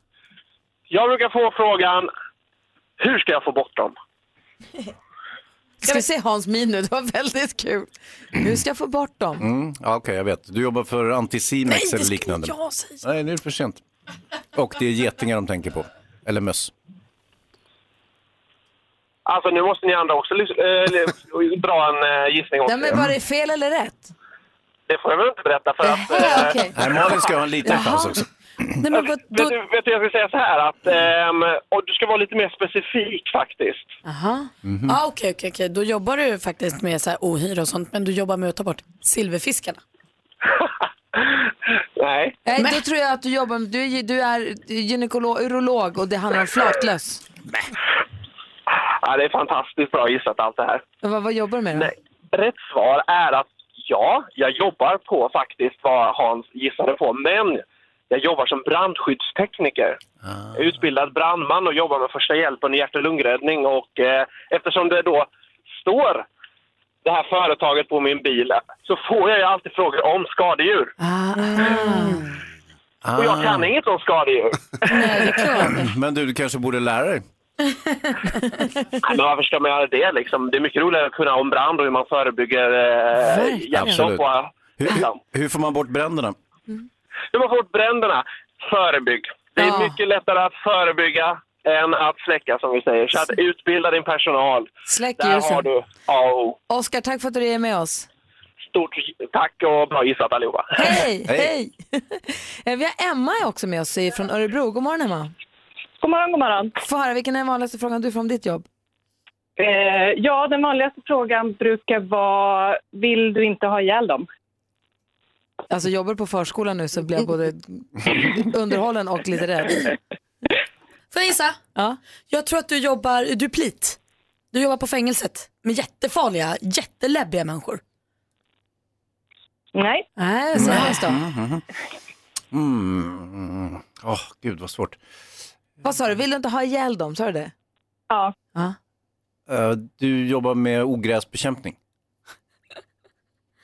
Speaker 9: Jag brukar få frågan, hur ska jag få bort dem?
Speaker 1: Ska vi se Hans min nu? Det var väldigt kul. Hur ska jag få bort dem?
Speaker 3: Mm, ja, Okej, jag vet. Du jobbar för Anticimex eller liknande.
Speaker 2: jag säga.
Speaker 3: Nej, nu är det för sent. Och det är getingar de tänker på. Eller möss.
Speaker 9: Alltså nu måste ni andra också lys- eh, dra en eh, gissning åt
Speaker 1: Nej, men
Speaker 9: er.
Speaker 1: var det fel eller rätt?
Speaker 9: Det får jag väl inte berätta för att... eh,
Speaker 1: Ja, okej.
Speaker 3: Nej, Malin ska ha en liten chans också.
Speaker 2: Nej, men vad,
Speaker 9: Vet,
Speaker 2: då,
Speaker 9: du, vet du, jag ska säga så här att ehm, och du ska vara lite mer specifik faktiskt.
Speaker 1: Aha.
Speaker 3: Mhm.
Speaker 2: ah, okej, okej, okej. Då jobbar du faktiskt med så här ohyra och sånt, men du jobbar med att ta bort silverfiskarna.
Speaker 9: Nej.
Speaker 1: Nej, då tror jag att du jobbar med, du, är ju- du är gynekolog, urolog och det handlar om flatlöss.
Speaker 9: Ja, det är fantastiskt bra gissat allt det här.
Speaker 1: Vad, vad jobbar du med då?
Speaker 9: Nej. Rätt svar är att ja, jag jobbar på faktiskt vad Hans gissade på, men jag jobbar som brandskyddstekniker. Jag är utbildad brandman och jobbar med första hjälpen och hjärt och lungräddning och eh, eftersom det då står det här företaget på min bil så får jag ju alltid frågor om skadedjur.
Speaker 1: Ah,
Speaker 3: Ah,
Speaker 9: Och jag kan
Speaker 2: Ah.
Speaker 9: inget om skadedjur.
Speaker 3: Men du, du kanske borde lära dig.
Speaker 9: Nej, men varför ska man göra det liksom? Det är mycket roligare att kunna om brand och hur man förebygger eh,
Speaker 1: Verkligen.
Speaker 9: hjärtstopp och
Speaker 3: Hur,
Speaker 9: liksom.
Speaker 3: hur, hur får man bort bränderna?
Speaker 9: Hur man får bort bränderna? Förebygg. Det är
Speaker 1: Ja.
Speaker 9: mycket lättare att förebygga än att släcka som vi säger. Så att utbilda din personal.
Speaker 1: släck
Speaker 9: Där har
Speaker 1: ljusen.
Speaker 9: du A och O.
Speaker 1: Oskar, tack för att du är med oss.
Speaker 9: Stort tack och bra gissat allihopa.
Speaker 1: Hej, hej.
Speaker 3: Hej.
Speaker 1: Eh, Vi har Emma också med oss eh, från Örebro. God morgon Emma.
Speaker 5: God morgon, god morgon.
Speaker 1: Få höra, vilken är den vanligaste frågan du får om ditt jobb?
Speaker 5: Eh, ja, den vanligaste frågan brukar vara, vill du inte ha ihjäl dem?
Speaker 1: Alltså jobbar du på förskolan nu så blir jag både underhållen och lite rädd.
Speaker 2: Får jag gissa?
Speaker 1: Ja.
Speaker 2: Jag tror att du jobbar, du är plit. Du jobbar på fängelset med jättefarliga, jätteläbbiga människor.
Speaker 5: Nej.
Speaker 1: Nej, så här då.
Speaker 3: Mm. Åh, gud vad svårt.
Speaker 1: Vad sa du, vill du inte ha ihjäl dem? Sa du det?
Speaker 5: Ja.
Speaker 1: Ja.
Speaker 3: Eh, du jobbar med ogräsbekämpning.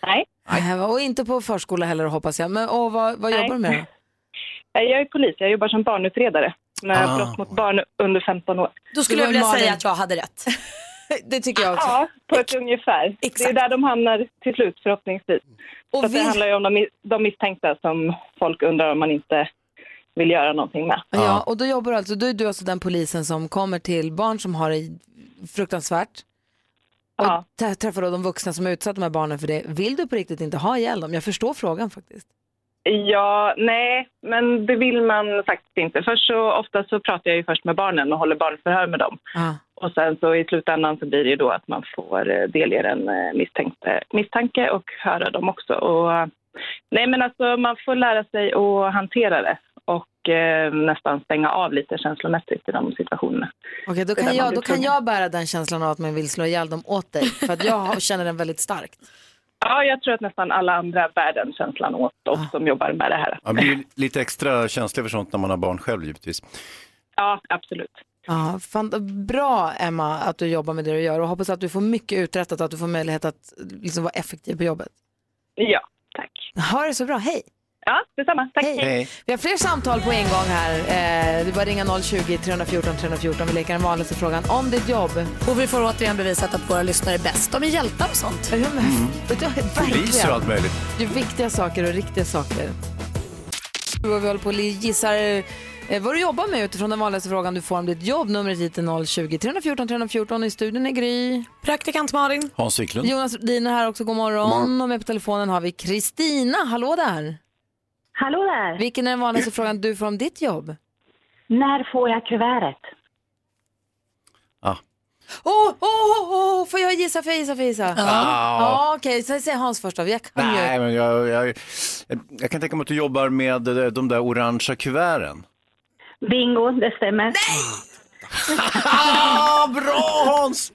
Speaker 5: Nej.
Speaker 1: Nej. Äh, Och inte på förskola heller hoppas jag. Men och vad, vad
Speaker 5: Nej.
Speaker 1: jobbar du med då?
Speaker 5: Eh, Jag är polis, jag jobbar som barnutredare med
Speaker 3: Ah.
Speaker 5: brott mot barn under 15 år.
Speaker 2: Då skulle
Speaker 1: Det
Speaker 2: jag
Speaker 1: var
Speaker 2: vilja
Speaker 1: Malin.
Speaker 2: säga att jag hade rätt.
Speaker 1: Det tycker jag också.
Speaker 5: Ja, på ett ungefär. Det är
Speaker 2: exakt.
Speaker 5: där de hamnar till slut förhoppningsvis. Så
Speaker 1: och
Speaker 5: att det handlar ju om de, de misstänkta som folk undrar om man inte vill göra någonting med.
Speaker 1: ja, och då jobbar du alltså, då är du alltså den polisen som kommer till barn som har det fruktansvärt. Och
Speaker 5: Ja.
Speaker 1: tä- träffar då de vuxna som har utsatt de här barnen för det. Vill du på riktigt inte ha ihjäl dem? Jag förstår frågan faktiskt.
Speaker 5: Ja, nej, men det vill man faktiskt inte. Först så, ofta så pratar jag ju först med barnen och håller barnförhör med dem.
Speaker 1: Ja.
Speaker 5: Och sen så i slutändan så blir det ju då att man får eh, delge den eh, misstänkte, misstanke och höra dem också. Och, eh, nej men alltså man får lära sig att hantera det och eh, nästan stänga av lite känslomässigt i de situationerna.
Speaker 1: Okej, då
Speaker 5: Det är
Speaker 1: kan,
Speaker 5: där man
Speaker 1: jag, då
Speaker 5: blir
Speaker 1: kan
Speaker 5: tvungen.
Speaker 1: jag bära den känslan av att man vill slå ihjäl dem åt dig. För att jag har- känner den väldigt starkt.
Speaker 5: Ja, jag tror att nästan alla andra bär den känslan åt oss som jobbar med det här.
Speaker 3: Man blir lite extra känslig för sånt när man har barn själv givetvis.
Speaker 5: Ja, absolut.
Speaker 1: Ja, fan, bra Emma att du jobbar med det du gör och hoppas att du får mycket uträttat och att du får möjlighet att liksom, vara effektiv på jobbet.
Speaker 5: Ja, tack.
Speaker 1: Ha det så bra, hej!
Speaker 5: Ja, detsamma. Tack.
Speaker 1: Hej.
Speaker 3: Hej.
Speaker 1: Vi har fler samtal på en gång här. Eh, det är bara att ringa 020-314 314. Vi leker den vanligaste frågan om ditt jobb.
Speaker 2: Och vi får återigen bevisat att våra lyssnare är bäst. De är hjältar och sånt.
Speaker 1: Mm.
Speaker 3: Poliser och
Speaker 1: Verkligen.
Speaker 3: allt möjligt.
Speaker 1: Det är viktiga saker och riktiga saker. Och Vi håller på och gissar eh, vad du jobbar med utifrån den vanligaste frågan du får om ditt jobb. Numret hit är 020-314 314. I studion är Gry.
Speaker 2: Praktikant Malin.
Speaker 3: Hans Wiklund.
Speaker 1: Jonas Rhodin är här också, god morgon.
Speaker 7: God morgon.
Speaker 1: Och med på telefonen har vi Kristina, hallå där.
Speaker 5: Hallå där.
Speaker 1: Vilken är den vanligaste frågan du får om ditt jobb?
Speaker 5: När får jag kuvertet?
Speaker 3: Ah.
Speaker 1: Åh, åh, åh, åh, får jag gissa, får jag gissa, får jag gissa? Ja. ja Okej, så säg Hans först då. Jag kan ju.
Speaker 3: Nej, men jag, jag, jag kan tänka mig att du jobbar med eh, de där orangea kuverten.
Speaker 5: Bingo, det stämmer.
Speaker 3: Ah, bra Hans!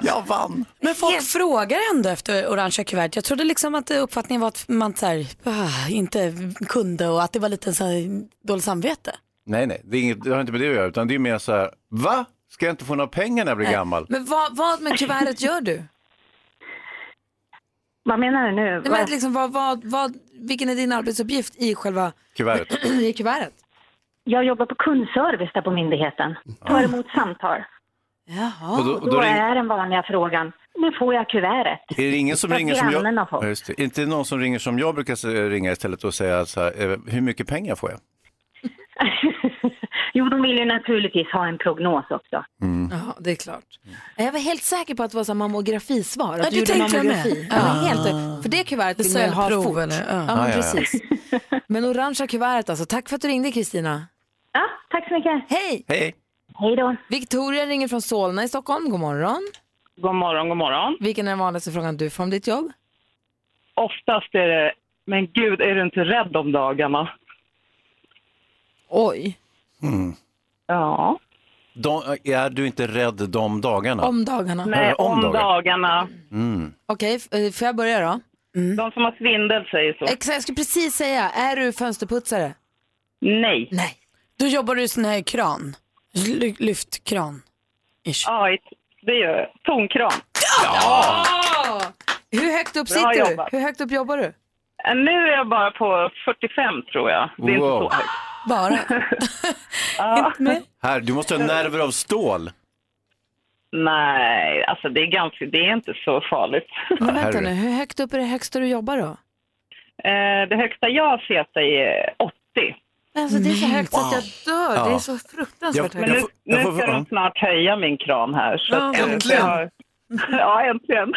Speaker 3: Jag vann.
Speaker 2: Men folk frågar ändå efter orangea kuvertet. Jag trodde liksom att eh, uppfattningen var att man så här, ah, inte kunde och att det var lite så här, dåligt samvete.
Speaker 3: Nej, nej, det, är inget, det har inte med det att göra, utan det är mer så här, va? Ska jag inte få några pengar när jag blir gammal?
Speaker 1: Men vad, vad med kuvertet gör du?
Speaker 5: Vad menar du nu?
Speaker 1: Nej, men liksom, vad, vad, vad, vilken är din arbetsuppgift i själva
Speaker 3: Kuvertet.
Speaker 1: i kuvertet?
Speaker 5: Jag jobbar på kundservice där på myndigheten. Tar emot samtal.
Speaker 1: Jaha.
Speaker 3: Och då,
Speaker 5: Och
Speaker 3: och
Speaker 5: då
Speaker 3: då ring,
Speaker 5: är den vanliga frågan, när får jag kuvertet?
Speaker 3: är det ingen som
Speaker 5: vad
Speaker 3: ringer som jag...
Speaker 5: grannen har fått.
Speaker 3: Ja, just det. Inte någon som ringer som jag brukar se- ringa istället och säga så här, eh, hur mycket pengar får jag?
Speaker 5: jo, de vill ju naturligtvis ha en prognos också.
Speaker 1: Ja, det är klart. Jag var helt säker på att det var så här mammografisvar. Att
Speaker 2: Ja,
Speaker 1: du
Speaker 2: det
Speaker 1: gjorde
Speaker 2: tänkte jag med.
Speaker 1: mammografi. Jag var helt, för det kuvertet vill man ju ha
Speaker 2: Cellprov
Speaker 1: fort.
Speaker 2: eller- ja.
Speaker 1: Ja, men
Speaker 3: Ah, ja, ja.
Speaker 1: precis. Men orangea kuvertet alltså. Tack för att du ringde Kristina.
Speaker 5: Ja, tack så mycket.
Speaker 1: Hej!
Speaker 3: Hej!
Speaker 5: Hej då.
Speaker 1: Victoria ringer från Solna i Stockholm. God morgon.
Speaker 12: God morgon, god morgon.
Speaker 1: Vilken är den vanligaste frågan du får om ditt jobb?
Speaker 12: Oftast är det, men gud, är du inte rädd om dagarna?
Speaker 1: Oj,
Speaker 7: Mm.
Speaker 12: Ja.
Speaker 3: De, är du inte rädd de dagarna?
Speaker 1: om dagarna.
Speaker 12: Nej,
Speaker 3: om
Speaker 12: om
Speaker 3: dagar.
Speaker 12: dagarna. Mm.
Speaker 3: Mm.
Speaker 1: Okej, f- eh, får jag börja då?
Speaker 12: De som har svindel säger så.
Speaker 1: Exakt, jag skulle precis säga, är du fönsterputsare?
Speaker 12: Nej.
Speaker 1: Nej.
Speaker 2: Då jobbar du i sån här kran, Ly- lyftkran. Ish.
Speaker 12: Ja, det gör jag. Tonkram.
Speaker 1: Hur högt upp
Speaker 12: Bra
Speaker 1: sitter du?
Speaker 12: jobbat. Eh,
Speaker 1: Hur högt upp jobbar du?
Speaker 12: Nu är jag bara på 45 tror jag. Det är
Speaker 3: Wow.
Speaker 12: inte så högt.
Speaker 2: Bara.
Speaker 3: Här, du måste ha nerver av stål.
Speaker 12: Nej, alltså det är, ganska, det är inte så farligt.
Speaker 1: Men
Speaker 3: Ja,
Speaker 1: vänta
Speaker 3: herre.
Speaker 1: nu, hur högt upp är det högsta du jobbar då?
Speaker 12: Eh, Det högsta jag har sett eh, är 80.
Speaker 1: Alltså det är så högt så att jag dör. Det är så fruktansvärt
Speaker 3: Ja,
Speaker 12: Men
Speaker 1: högt.
Speaker 12: nu,
Speaker 3: Mm. Jag får- jag
Speaker 12: nu
Speaker 3: får-
Speaker 12: ska de
Speaker 3: ja.
Speaker 12: snart höja min kran här. Så att, eh,
Speaker 3: Äntligen.
Speaker 12: jag har- Ja, äntligen.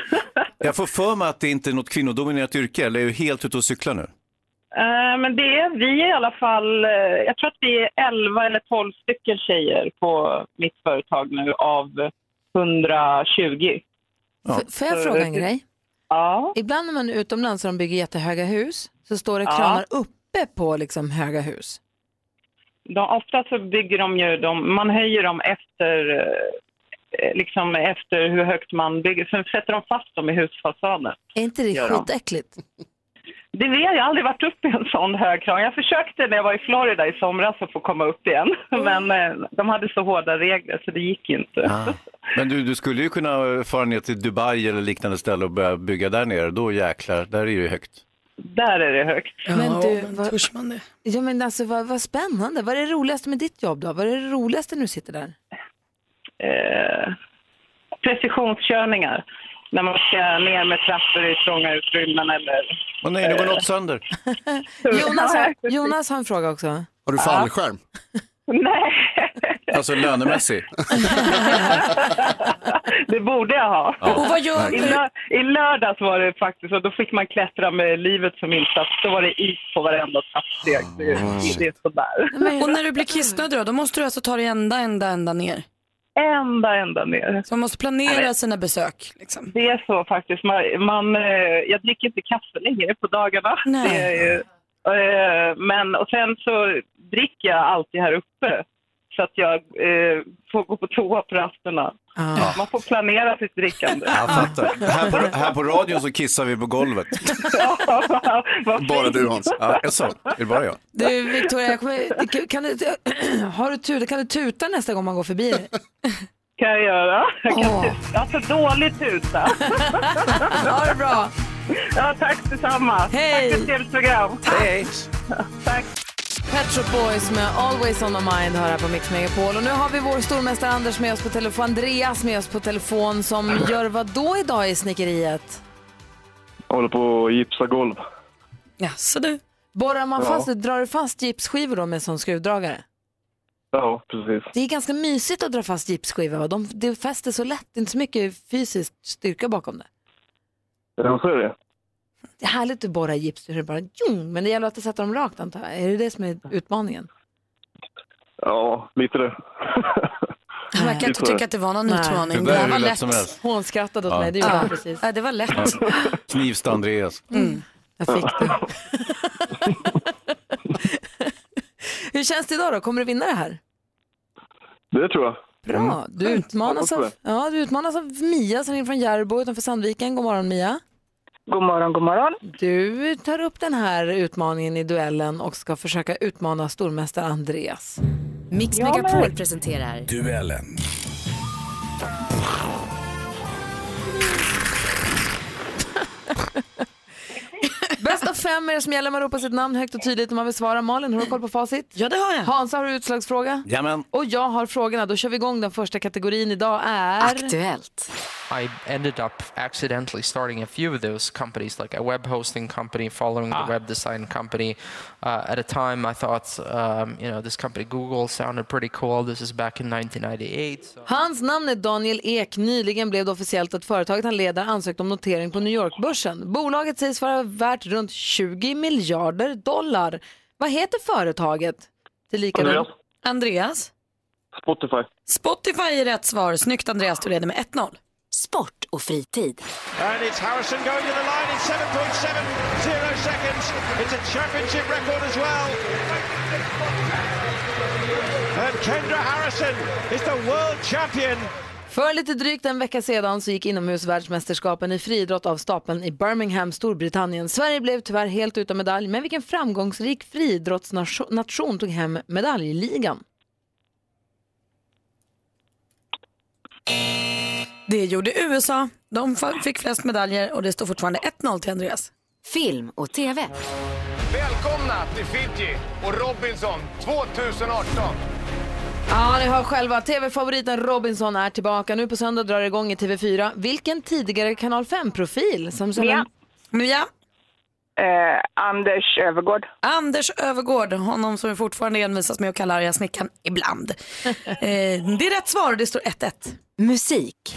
Speaker 3: Jag får för mig att det inte är något kvinnodominerat yrke, eller är du helt ute och cyklar nu?
Speaker 12: Eh, Men det är vi är i alla fall, eh, jag tror att vi är 11 eller 12 stycken tjejer på mitt företag nu av 120.
Speaker 3: Ja.
Speaker 1: F- Får jag fråga en grej?
Speaker 12: Mm. Ja,
Speaker 1: Ibland när man är utomlands och de bygger jättehöga hus så står det
Speaker 12: Ja.
Speaker 1: kranar uppe på liksom höga hus.
Speaker 12: de, ofta så bygger de ju, de, man höjer dem efter, eh, liksom efter hur högt man bygger, sen sätter de fast dem i husfasaden.
Speaker 1: Är inte det
Speaker 12: Gör de.
Speaker 1: skitäckligt?
Speaker 12: Det vet jag, jag har aldrig varit uppe i en sån hög kran. Jag försökte när jag var i Florida i somras att få komma upp igen,
Speaker 2: Mm.
Speaker 12: men eh, de hade så hårda regler så det gick inte.
Speaker 3: Ah. Men du, du skulle ju kunna fara ner till Dubai eller liknande ställe och börja bygga där nere. Då jäklar, där är det ju högt.
Speaker 12: Där är det högt.
Speaker 1: Men du, vad-
Speaker 2: törs man det?
Speaker 1: Ja men alltså vad, vad spännande. Vad är det roligaste med ditt jobb då? Vad är det roligaste när du sitter där?
Speaker 12: eh, precisionskörningar. När man ska ner med trappor i trånga utrymmen eller...
Speaker 3: Åh nej, nu går något sönder.
Speaker 1: Jonas har, Jonas har en fråga också.
Speaker 7: Har du fallskärm?
Speaker 12: Nej,
Speaker 3: Alltså lönemässigt.
Speaker 12: Eh, det borde jag ha.
Speaker 2: Och vad gör
Speaker 12: I,
Speaker 2: du?
Speaker 12: lö- I lördags var det faktiskt, och då fick man klättra med livet som insats. Då var det is på varenda trappsteg. Det, det, det är sådär.
Speaker 2: Och när du blir kissnödig då, då måste du alltså ta dig ända, ända, ända ner.
Speaker 12: Ända, ända ner.
Speaker 2: Så man måste planera sina besök. Liksom.
Speaker 12: Det är så faktiskt. Man, man, eh, jag dricker inte kaffe längre på dagarna.
Speaker 2: Nej.
Speaker 12: Det är ju, eh, men, och sen så dricker jag alltid här uppe. Så att jag eh, får gå på toa på rasterna.
Speaker 1: Ah.
Speaker 12: Man får planera sitt drickande.
Speaker 3: Jag fattar. Här på, här på radion så kissar vi på golvet.
Speaker 12: Vad
Speaker 7: Bara
Speaker 12: fint.
Speaker 7: du Hans.
Speaker 3: Ja, alltså, är det bara jag?
Speaker 1: Du Victoria, jag kommer, kan du, har du tuta, kan du tuta nästa gång man går förbi dig?
Speaker 12: kan jag göra. Jag kan
Speaker 1: Åh.
Speaker 12: tuta. Jag har så dåligt tuta.
Speaker 1: Ha det bra.
Speaker 12: Ja, tack detsamma.
Speaker 1: Hej.
Speaker 12: Tack för ett trevligt program.
Speaker 3: Hej!
Speaker 12: Tack.
Speaker 1: Pet Shop Boys med Always On My Mind hör här på Mix Megapol. Och nu har vi vår stormästare Anders med oss på telefon, Andreas med oss på telefon som gör vad då idag i snickeriet?
Speaker 9: håller på och gipsa golv.
Speaker 2: Ja, så du.
Speaker 1: Borrar man fast, drar du fast gipsskivor då med sån skruvdragare?
Speaker 9: Ja, precis.
Speaker 1: Det är ganska mysigt att dra fast gipsskivor va? De, det fäster så lätt, det är inte så mycket fysisk styrka bakom det.
Speaker 9: Ja, så är det.
Speaker 1: Det är härligt att borra i gips, det är bara jung, men det gäller att sätta dem rakt antar jag. Är det det som är utmaningen?
Speaker 9: Ja, lite det.
Speaker 2: Han verkar inte
Speaker 9: Vi får-
Speaker 2: tycka att det var någon
Speaker 1: Nej.
Speaker 2: utmaning.
Speaker 3: Det där är
Speaker 2: var
Speaker 3: hur lätt som helst.
Speaker 1: Hon skrattade åt
Speaker 3: Ja.
Speaker 1: mig, det gjorde
Speaker 2: Ja.
Speaker 1: hon precis.
Speaker 2: Ja, det var lätt.
Speaker 3: Ja. Knivsta Andreas.
Speaker 1: Jag fick det. Hur känns det idag då? Kommer du vinna det här?
Speaker 6: Det tror jag.
Speaker 1: Bra. Du
Speaker 9: Mm.
Speaker 1: utmanas
Speaker 6: Jag
Speaker 1: av,
Speaker 6: hoppas
Speaker 1: ja, du utmanas av Mia som ringer från Järbo utanför Sandviken. God morgon Mia.
Speaker 13: God morgon, god morgon.
Speaker 1: Du tar upp den här utmaningen i duellen och ska försöka utmana stormästare Andreas.
Speaker 10: Mix
Speaker 1: Ja, men-
Speaker 10: Megapol presenterar
Speaker 14: Duellen.
Speaker 1: Bäst av fem är det som gäller. Man ropar sitt namn högt och tydligt när man vill svara. Malin, har du koll på facit?
Speaker 2: Ja, det har jag.
Speaker 1: Hansa, har du utslagsfråga?
Speaker 3: Jajamän.
Speaker 1: Och jag har frågorna. Då kör vi igång. Den första kategorin idag är...
Speaker 10: Aktuellt.
Speaker 15: I ended up accidentally starting a few of those companies, like a web hosting company, following
Speaker 14: Ah.
Speaker 15: the web design company. Uh, at a time, I thought, um, you know, this company Google sounded pretty cool. This is back in 1998. So.
Speaker 1: Hans namn är Daniel Ek. Nyligen blev det officiellt att företaget han leder ansökt om notering på New York-börsen. Bolaget sägs vara värt runt 20 miljarder dollar. Vad heter företaget? Tillika
Speaker 6: Andreas.
Speaker 2: Andreas?
Speaker 6: Spotify.
Speaker 2: Spotify är rätt svar. Snyggt Andreas, du leder med 1-0. Sport och fritid.
Speaker 16: And it's Harrison going to the line in 7.70 seconds. It's a championship record as well. And Kendra Harrison is the world champion.
Speaker 1: För lite drygt en vecka sedan så gick inomhusvärldsmästerskapen i friidrott av stapeln i Birmingham, Storbritannien. Sverige blev tyvärr helt utan medalj, men vilken framgångsrik friidrottsnation tog hem medaljligan?
Speaker 2: Det gjorde USA. De f- fick flest medaljer och det står fortfarande 1-0 till Andreas.
Speaker 10: Film och TV.
Speaker 16: Välkomna till Fiji och Robinson 2018.
Speaker 1: Ja, ni hör själva. TV-favoriten Robinson är tillbaka. Nu på söndag drar det igång i TV4. Vilken tidigare Kanal 5-profil? Som som-
Speaker 13: Mia.
Speaker 2: Mia?
Speaker 13: Eh, Anders Övergård.
Speaker 2: Anders Övergård, honom som vi fortfarande envisas med att kalla arga snickaren ibland. eh, det är rätt svar och det står 1-1.
Speaker 10: Musik.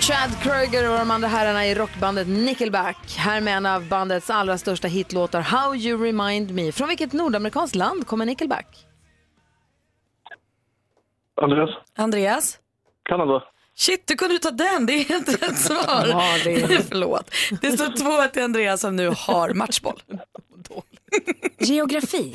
Speaker 1: Chad Kroeger och de andra herrarna i rockbandet Nickelback. Här med en av bandets allra största hitlåtar, How You Remind Me. Från vilket nordamerikanskt land kommer Nickelback?
Speaker 6: Andreas.
Speaker 2: Andreas?
Speaker 6: Kanada.
Speaker 2: Shit, du kunde ju ta den. Det är helt rätt svar.
Speaker 6: Ja, det är-
Speaker 2: Förlåt. Det står 2-1 till Andreas som nu har matchboll.
Speaker 10: Geografi.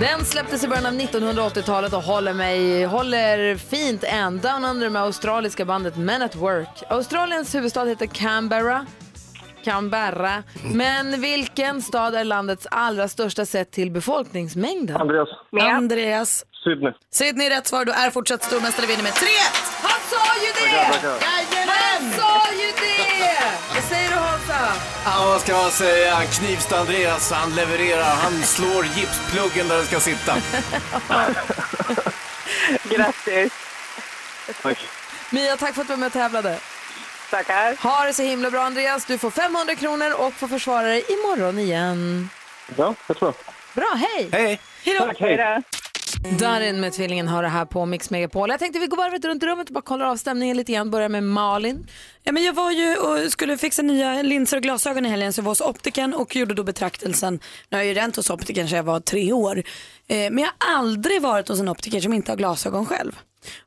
Speaker 1: Den släpptes i början av 1980-talet och håller, mig, håller fint än. Down Under med australiska bandet Men at Work. Australiens huvudstad heter Canberra. Canberra. Men vilken stad är landets allra största sett till befolkningsmängden?
Speaker 6: Andreas.
Speaker 2: Andreas.
Speaker 6: Sydney.
Speaker 2: Sydney är rätt svar. Du är fortsatt stormästare vinner med 3-1.
Speaker 1: Han sa ju
Speaker 6: Tackar, tackar.
Speaker 1: Han sa ju det! Vad säger du Hansa?
Speaker 3: Ja, vad ska man säga? Knivsta Andreas, han levererar. Han slår gipspluggen där den ska sitta.
Speaker 1: Grattis!
Speaker 6: Tack.
Speaker 1: Mia, tack för att du var med och tävlade. Tackar. Ha det så himla bra Andreas. Du får 500 kronor och får försvara dig imorgon igen.
Speaker 6: Ja, jag tror
Speaker 1: Bra, hej!
Speaker 6: Hej.
Speaker 1: Hej då!
Speaker 6: Tack, hej.
Speaker 1: Darin med tvillingen har det här på Mix Megapol. Jag tänkte vi går varvet runt rummet och bara kollar av stämningen lite grann. Börjar med Malin.
Speaker 2: Ja, men jag var ju och skulle fixa nya linser och glasögon i helgen så jag var hos optiken och gjorde då betraktelsen. Nu har jag ju rent hos optiken sedan jag var tre år. Eh, men jag har aldrig varit hos en optiker som inte har glasögon själv.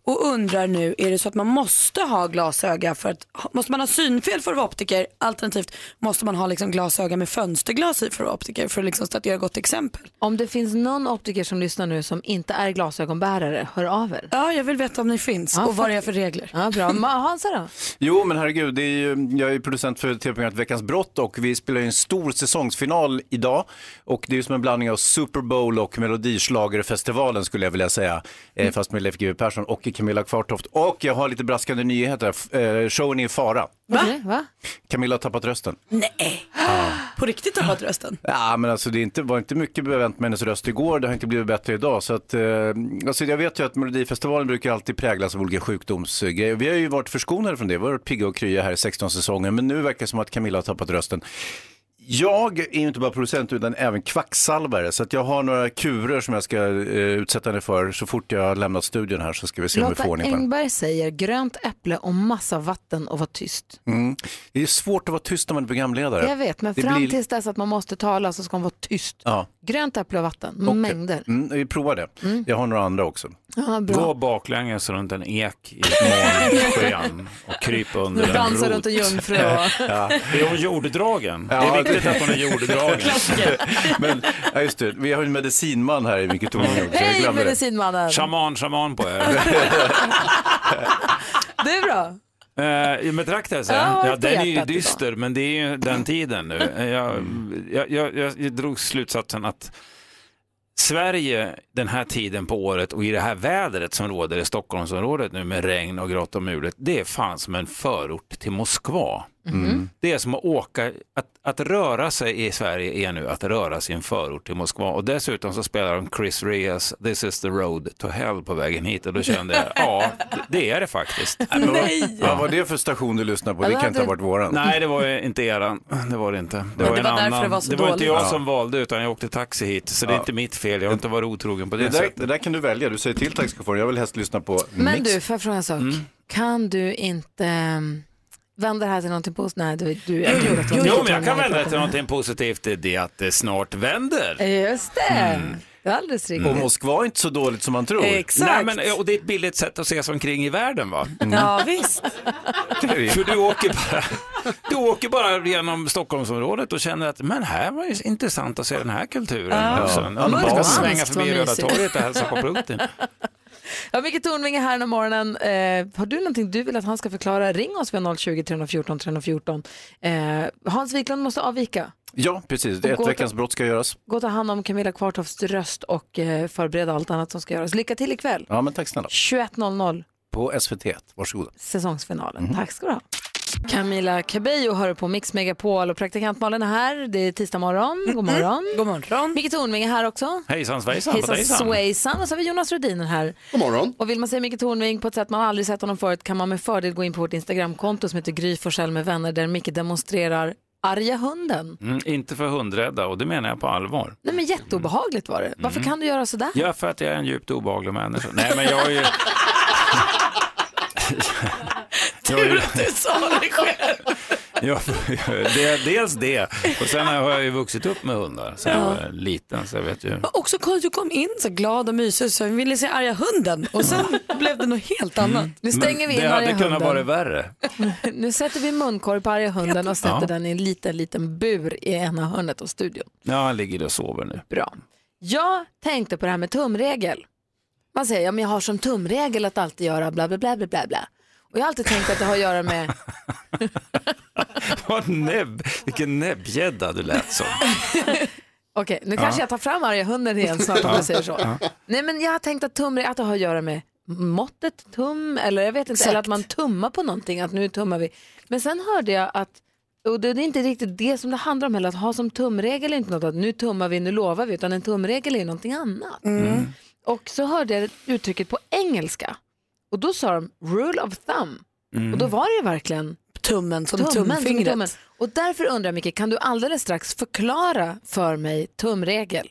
Speaker 2: Och undrar nu, är det så att man måste ha glasöga för att, måste man ha synfel för att vara optiker? Alternativt måste man ha liksom glasöga med fönsterglas i för att vara optiker för att liksom statuera gott exempel?
Speaker 1: Om det finns någon optiker som lyssnar nu som inte är glasögonbärare, hör av er.
Speaker 2: Ja, jag vill veta om ni finns och vad det är för regler.
Speaker 1: Ja, bra. Ma- Hansa då?
Speaker 3: Jo, men herregud, det är ju, jag är ju producent för tv-programmet Veckans brott och vi spelar ju en stor säsongsfinal idag. Och det är ju som en blandning av Super Bowl och Melodischlagerfestivalen skulle jag vilja säga, eh, fast med Leif GW Persson och Camilla Kvartoft. Och jag har lite braskande nyheter, F- eh, showen är i fara.
Speaker 1: Va? Va?
Speaker 3: Camilla har tappat rösten.
Speaker 2: Nej. På riktigt tappat rösten?
Speaker 3: Ja, men alltså det är inte, var inte mycket bevänt med hennes röst igår, det har inte blivit bättre idag. Så att, eh, alltså jag vet ju att Melodifestivalen brukar alltid präglas av olika sjukdomsgrejer. Vi har ju varit förskonade från det, vi har varit pigga och krya här i 16 säsonger, men nu verkar det som att Camilla har tappat rösten. Jag är ju inte bara producent utan även kvacksalvare så att jag har några kurer som jag ska eh, utsätta dig för så fort jag har lämnat studion här så ska vi se om vi får
Speaker 1: Lotta
Speaker 3: ordning på den.
Speaker 1: Engberg säger grönt äpple och massa vatten och var tyst.
Speaker 3: Mm. Det är svårt att vara tyst när man är programledare.
Speaker 1: Jag vet, men
Speaker 3: Det
Speaker 1: fram
Speaker 3: blir-
Speaker 1: tills dess att man måste tala så ska man vara tyst.
Speaker 3: Ja.
Speaker 1: Grönt äpple och vatten,
Speaker 3: Okej.
Speaker 1: mängder.
Speaker 3: Mm, vi provar det. Jag har några andra också.
Speaker 1: Ja, bra. Gå
Speaker 14: baklänges runt en ek i månsken och kryp under
Speaker 1: Nu dansar
Speaker 14: en
Speaker 1: runt en jungfru.
Speaker 14: ja. Är hon jorddragen? det är viktigt att hon är jorddragen.
Speaker 3: Men, ja, just det. Vi har ju en medicinman här i vilket ord
Speaker 1: Hej, medicinmannen.
Speaker 14: Shaman, shaman på er.
Speaker 1: Det är bra.
Speaker 14: Eh, med traktelse?
Speaker 1: Ja,
Speaker 14: Ja,
Speaker 1: vad
Speaker 14: den är ju
Speaker 1: petat idag.
Speaker 14: dyster, men det är ju den tiden nu. Eh, Jag, jag, jag, jag drog slutsatsen att Sverige den här tiden på året och i det här vädret som råder i Stockholmsområdet nu med regn och grått och mulet, det är fan som en förort till Moskva. Mm.
Speaker 17: Mhm.
Speaker 14: Det är som att åka, att, att röra sig i Sverige är nu att röra sig i en förort till Moskva och dessutom så spelar de Chris Reas This is the road to hell på vägen hit och då kände jag, ja, det är det faktiskt.
Speaker 3: Nej. Vad var det för station du lyssnade på? Det kan inte ha varit våran.
Speaker 14: Nej, det var ju inte eran. Det var det inte. Det var,
Speaker 3: det
Speaker 14: en
Speaker 3: var därför
Speaker 14: annan.
Speaker 3: det var så
Speaker 14: var inte
Speaker 3: dåligt.
Speaker 14: jag
Speaker 3: Ja.
Speaker 14: som valde utan jag åkte taxi hit. Så det är
Speaker 3: Ja.
Speaker 14: inte mitt fel. Jag har inte varit otrogen på det,
Speaker 3: Det där,
Speaker 14: sättet.
Speaker 3: det där kan du välja. Du säger till taxichauffören, jag vill helst lyssna på
Speaker 1: Men
Speaker 3: mix.
Speaker 1: du, får jag fråga en sak? Kan du inte ehm, vända det här till någonting positivt? Nej, du, du jag gjorde att det var
Speaker 14: Jo, men
Speaker 1: positivt.
Speaker 14: jag kan vända till någonting positivt. Det är det att det snart vänder.
Speaker 1: Just det, det är alldeles riktigt.
Speaker 14: Och Moskva är inte så dåligt som man tror.
Speaker 1: Exakt.
Speaker 14: Nej, men, och det är ett billigt sätt att se sig omkring i världen va?
Speaker 3: Mm.
Speaker 2: Ja, visst.
Speaker 14: För du åker, bara, du åker bara genom Stockholmsområdet och känner att men här var ju intressant att se den här kulturen.
Speaker 1: Ja.
Speaker 14: Och sen, ja,
Speaker 1: Ja,
Speaker 14: man ska
Speaker 1: vad
Speaker 14: svänga
Speaker 1: mysigt,
Speaker 14: förbi
Speaker 1: vad
Speaker 14: Röda
Speaker 1: mysigt.
Speaker 14: torget och hälsa på produkten.
Speaker 1: Ja, Micke Tornving är här den här morgonen. Eh, har du någonting du vill att han ska förklara? Ring oss vid 020-314 314. Eh, Hans Wiklund måste avvika.
Speaker 3: Ja, precis. Det
Speaker 1: Och
Speaker 3: är ett
Speaker 1: gå-
Speaker 3: veckans brott ska göras.
Speaker 1: Gå och ta hand om Camilla Kvartofts röst och eh, förbereda allt annat som ska göras. Lycka till ikväll.
Speaker 3: Ja, men tack snälla.
Speaker 1: 21.00
Speaker 3: På SVT1. Varsågoda. Mhm.
Speaker 1: säsongsfinalen. Tack ska du ha. Camilla Cabello hör på Mix Megapol och praktikant Malin är här. Det är tisdag morgon. God morgon. God morgon. Micke Tornving är här också.
Speaker 14: Hejsan svejsan på
Speaker 1: Hejsan
Speaker 14: dejsan.
Speaker 1: svejsan. Och så har vi Jonas Rhodinen här.
Speaker 7: God morgon.
Speaker 1: Och vill man se Micke Tornving på ett sätt man aldrig sett honom förut kan man med fördel gå in på vårt Instagramkonto som heter Gry Forssell med vänner där Micke demonstrerar arga hunden.
Speaker 14: Mm, inte för hundrädda och det menar jag på allvar.
Speaker 1: Nej men jätteobehagligt var det. Varför kan du göra sådär?
Speaker 14: Mm. Ja, för att jag är en djupt obehaglig människa. Nej, men jag är ju... Jag är ju-
Speaker 2: sa det själv.
Speaker 14: Ja, det är dels det. Och sen har jag ju vuxit upp med hundar sen jag var liten, så jag vet ju.
Speaker 2: Och så kom, du kom in så glad och mysig så jag ville se arga hunden och sen blev det något helt annat.
Speaker 1: Nu stänger vi in
Speaker 14: det hade
Speaker 1: arga
Speaker 14: kunnat
Speaker 1: hunden.
Speaker 14: vara värre.
Speaker 1: Nu sätter vi munkorg på arga hunden och sätter
Speaker 14: Ja.
Speaker 1: den i en liten, liten bur i ena hörnet av studion.
Speaker 14: Ja, han ligger och sover nu.
Speaker 1: Bra. Jag tänkte på det här med tumregel. Man säger, ja, men jag har som tumregel att alltid göra bla bla bla bla bla. bla. Och jag har alltid tänkt att det har att göra med,
Speaker 14: Vad näbb, vilken näbbgädda du lät som.
Speaker 1: okej nu
Speaker 14: Ja.
Speaker 1: kanske jag tar fram arga hunden igen snart om
Speaker 14: Ja.
Speaker 1: jag säger så.
Speaker 14: Ja.
Speaker 1: Nej men jag har tänkt att tumregel, att det har att göra med måttet tum eller jag vet inte,
Speaker 2: Exakt.
Speaker 1: eller att man tummar på någonting, att nu tummar vi. Men sen hörde jag att, och det det är inte riktigt det som det handlar om heller, att ha som tumregel är inte något att nu tummar vi, nu lovar vi, utan en tumregel är någonting annat.
Speaker 14: Mm.
Speaker 1: Och så hörde jag uttrycket på engelska. Och då sa de rule of thumb.
Speaker 2: Mm.
Speaker 1: Och då var det verkligen
Speaker 2: tummen som
Speaker 1: Som
Speaker 2: tumfingret.
Speaker 1: tummen. Och därför undrar jag Micke, kan du alldeles strax förklara för mig tumregel?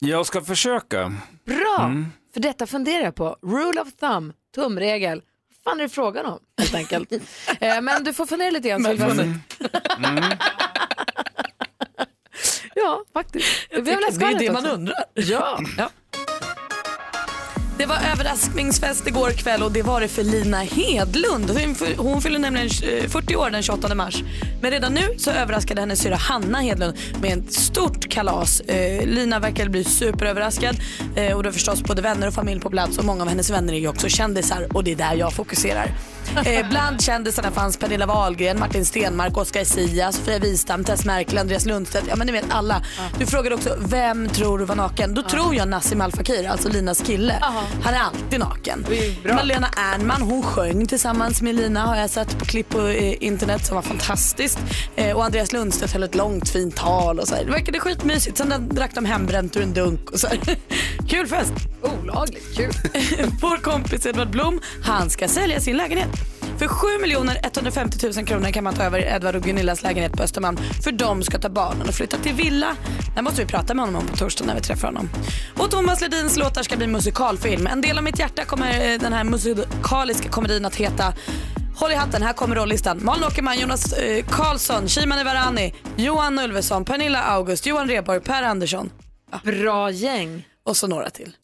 Speaker 14: Jag ska försöka.
Speaker 1: Bra!
Speaker 14: Mm.
Speaker 1: För detta funderar jag på. Rule of thumb, tumregel. Vad fan är det frågan om helt enkelt? eh, men du får fundera lite grann. så vi får se.
Speaker 2: Mm.
Speaker 1: Ja, faktiskt. Vi har väl
Speaker 2: det är
Speaker 1: svaret
Speaker 2: det man
Speaker 1: också.
Speaker 2: undrar.
Speaker 1: Ja.
Speaker 2: Det var överraskningsfest igår kväll och det var det för Lina Hedlund. Hon fy- Hon fyller nämligen eh, 40 år den 28 mars. Men redan nu så överraskade hennes syra Hanna Hedlund med ett stort kalas. Eh, Lina verkar bli superöverraskad eh, och då är förstås både vänner och familj på plats och många av hennes vänner är ju också kändisar och det är där jag fokuserar. Eh, Bland kändisarna fanns Pernilla Wahlgren, Martin Stenmark, Oscar Sia, Sofia Wistam, Tess Merkel, Andreas Lundstedt. Ja men ni vet alla. Du frågade också vem tror du var naken? Då tror jag Nassim Al Fakir, alltså Linas kille. Han är alltid naken. Malena Ernman hon sjöng tillsammans med Lina har jag sett på klipp på eh, internet som var fantastiskt. Eh, och Andreas Lundstedt höll ett långt fint tal och så här. Det verkade skitmysigt. Sen den- drack de hembränt ur en dunk och så här. Kul fest.
Speaker 1: Olagligt kul.
Speaker 2: Vår kompis Edvard Blom, han ska sälja sin lägenhet. För 7 miljoner 150 000 kronor kan man ta över Edvard och Gunillas lägenhet på Östermalm för de ska ta barnen och flytta till villa. Det måste vi prata med honom om på torsdag när vi träffar honom. Och Thomas Ledins låtar ska bli musikalfilm. En del av mitt hjärta kommer eh, den här musikaliska komedin att heta Håll i hatten, här kommer rollistan. Malin Åkerman, Jonas eh, Karlsson, Shimane Varani, Johan Ulveson, Pernilla August, Johan Rheborg, Per Andersson.
Speaker 1: Bra gäng. Eh,
Speaker 2: Och så några till.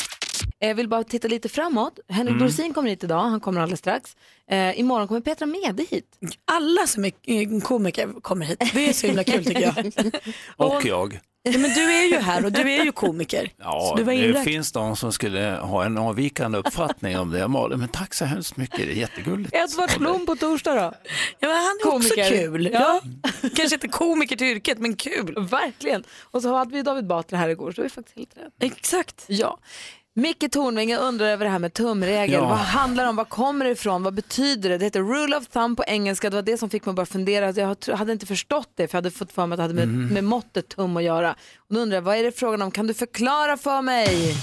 Speaker 1: Jag vill bara titta lite framåt. Henrik
Speaker 2: Mm.
Speaker 1: Dorsin kommer hit idag, han kommer alldeles strax. Eh, imorgon kommer Petra Mede hit.
Speaker 2: Alla som är eh, komiker kommer hit. Det är så himla kul tycker jag.
Speaker 14: Och jag.
Speaker 2: Nej, men du är ju här och du är ju komiker.
Speaker 14: Ja,
Speaker 2: så du var
Speaker 14: det
Speaker 2: inräknad.
Speaker 14: finns de som skulle ha en avvikande uppfattning om det. Malin, men tack så hemskt mycket, det är jättegulligt.
Speaker 1: Edvard Blom på torsdag då?
Speaker 2: Ja, men han är också kul. Ja. Kanske inte komiker till yrket, men kul.
Speaker 1: Verkligen. Och så hade vi David Batra här igår, så det var ju faktiskt helt rätt.
Speaker 2: Exakt.
Speaker 1: Ja. Micke Tornving, jag undrar över det här med tumregel.
Speaker 17: Ja.
Speaker 1: Vad handlar det om? Vad kommer det ifrån? Vad betyder det? Det heter rule of thumb på engelska. Det var det som fick mig att börja fundera. Alltså, Jag har tro- hade inte förstått det för jag hade fått för mig att det hade med,
Speaker 17: Mm.
Speaker 1: med måttet tum att göra. Och nu undrar jag, vad är det frågan om? Kan du förklara för mig?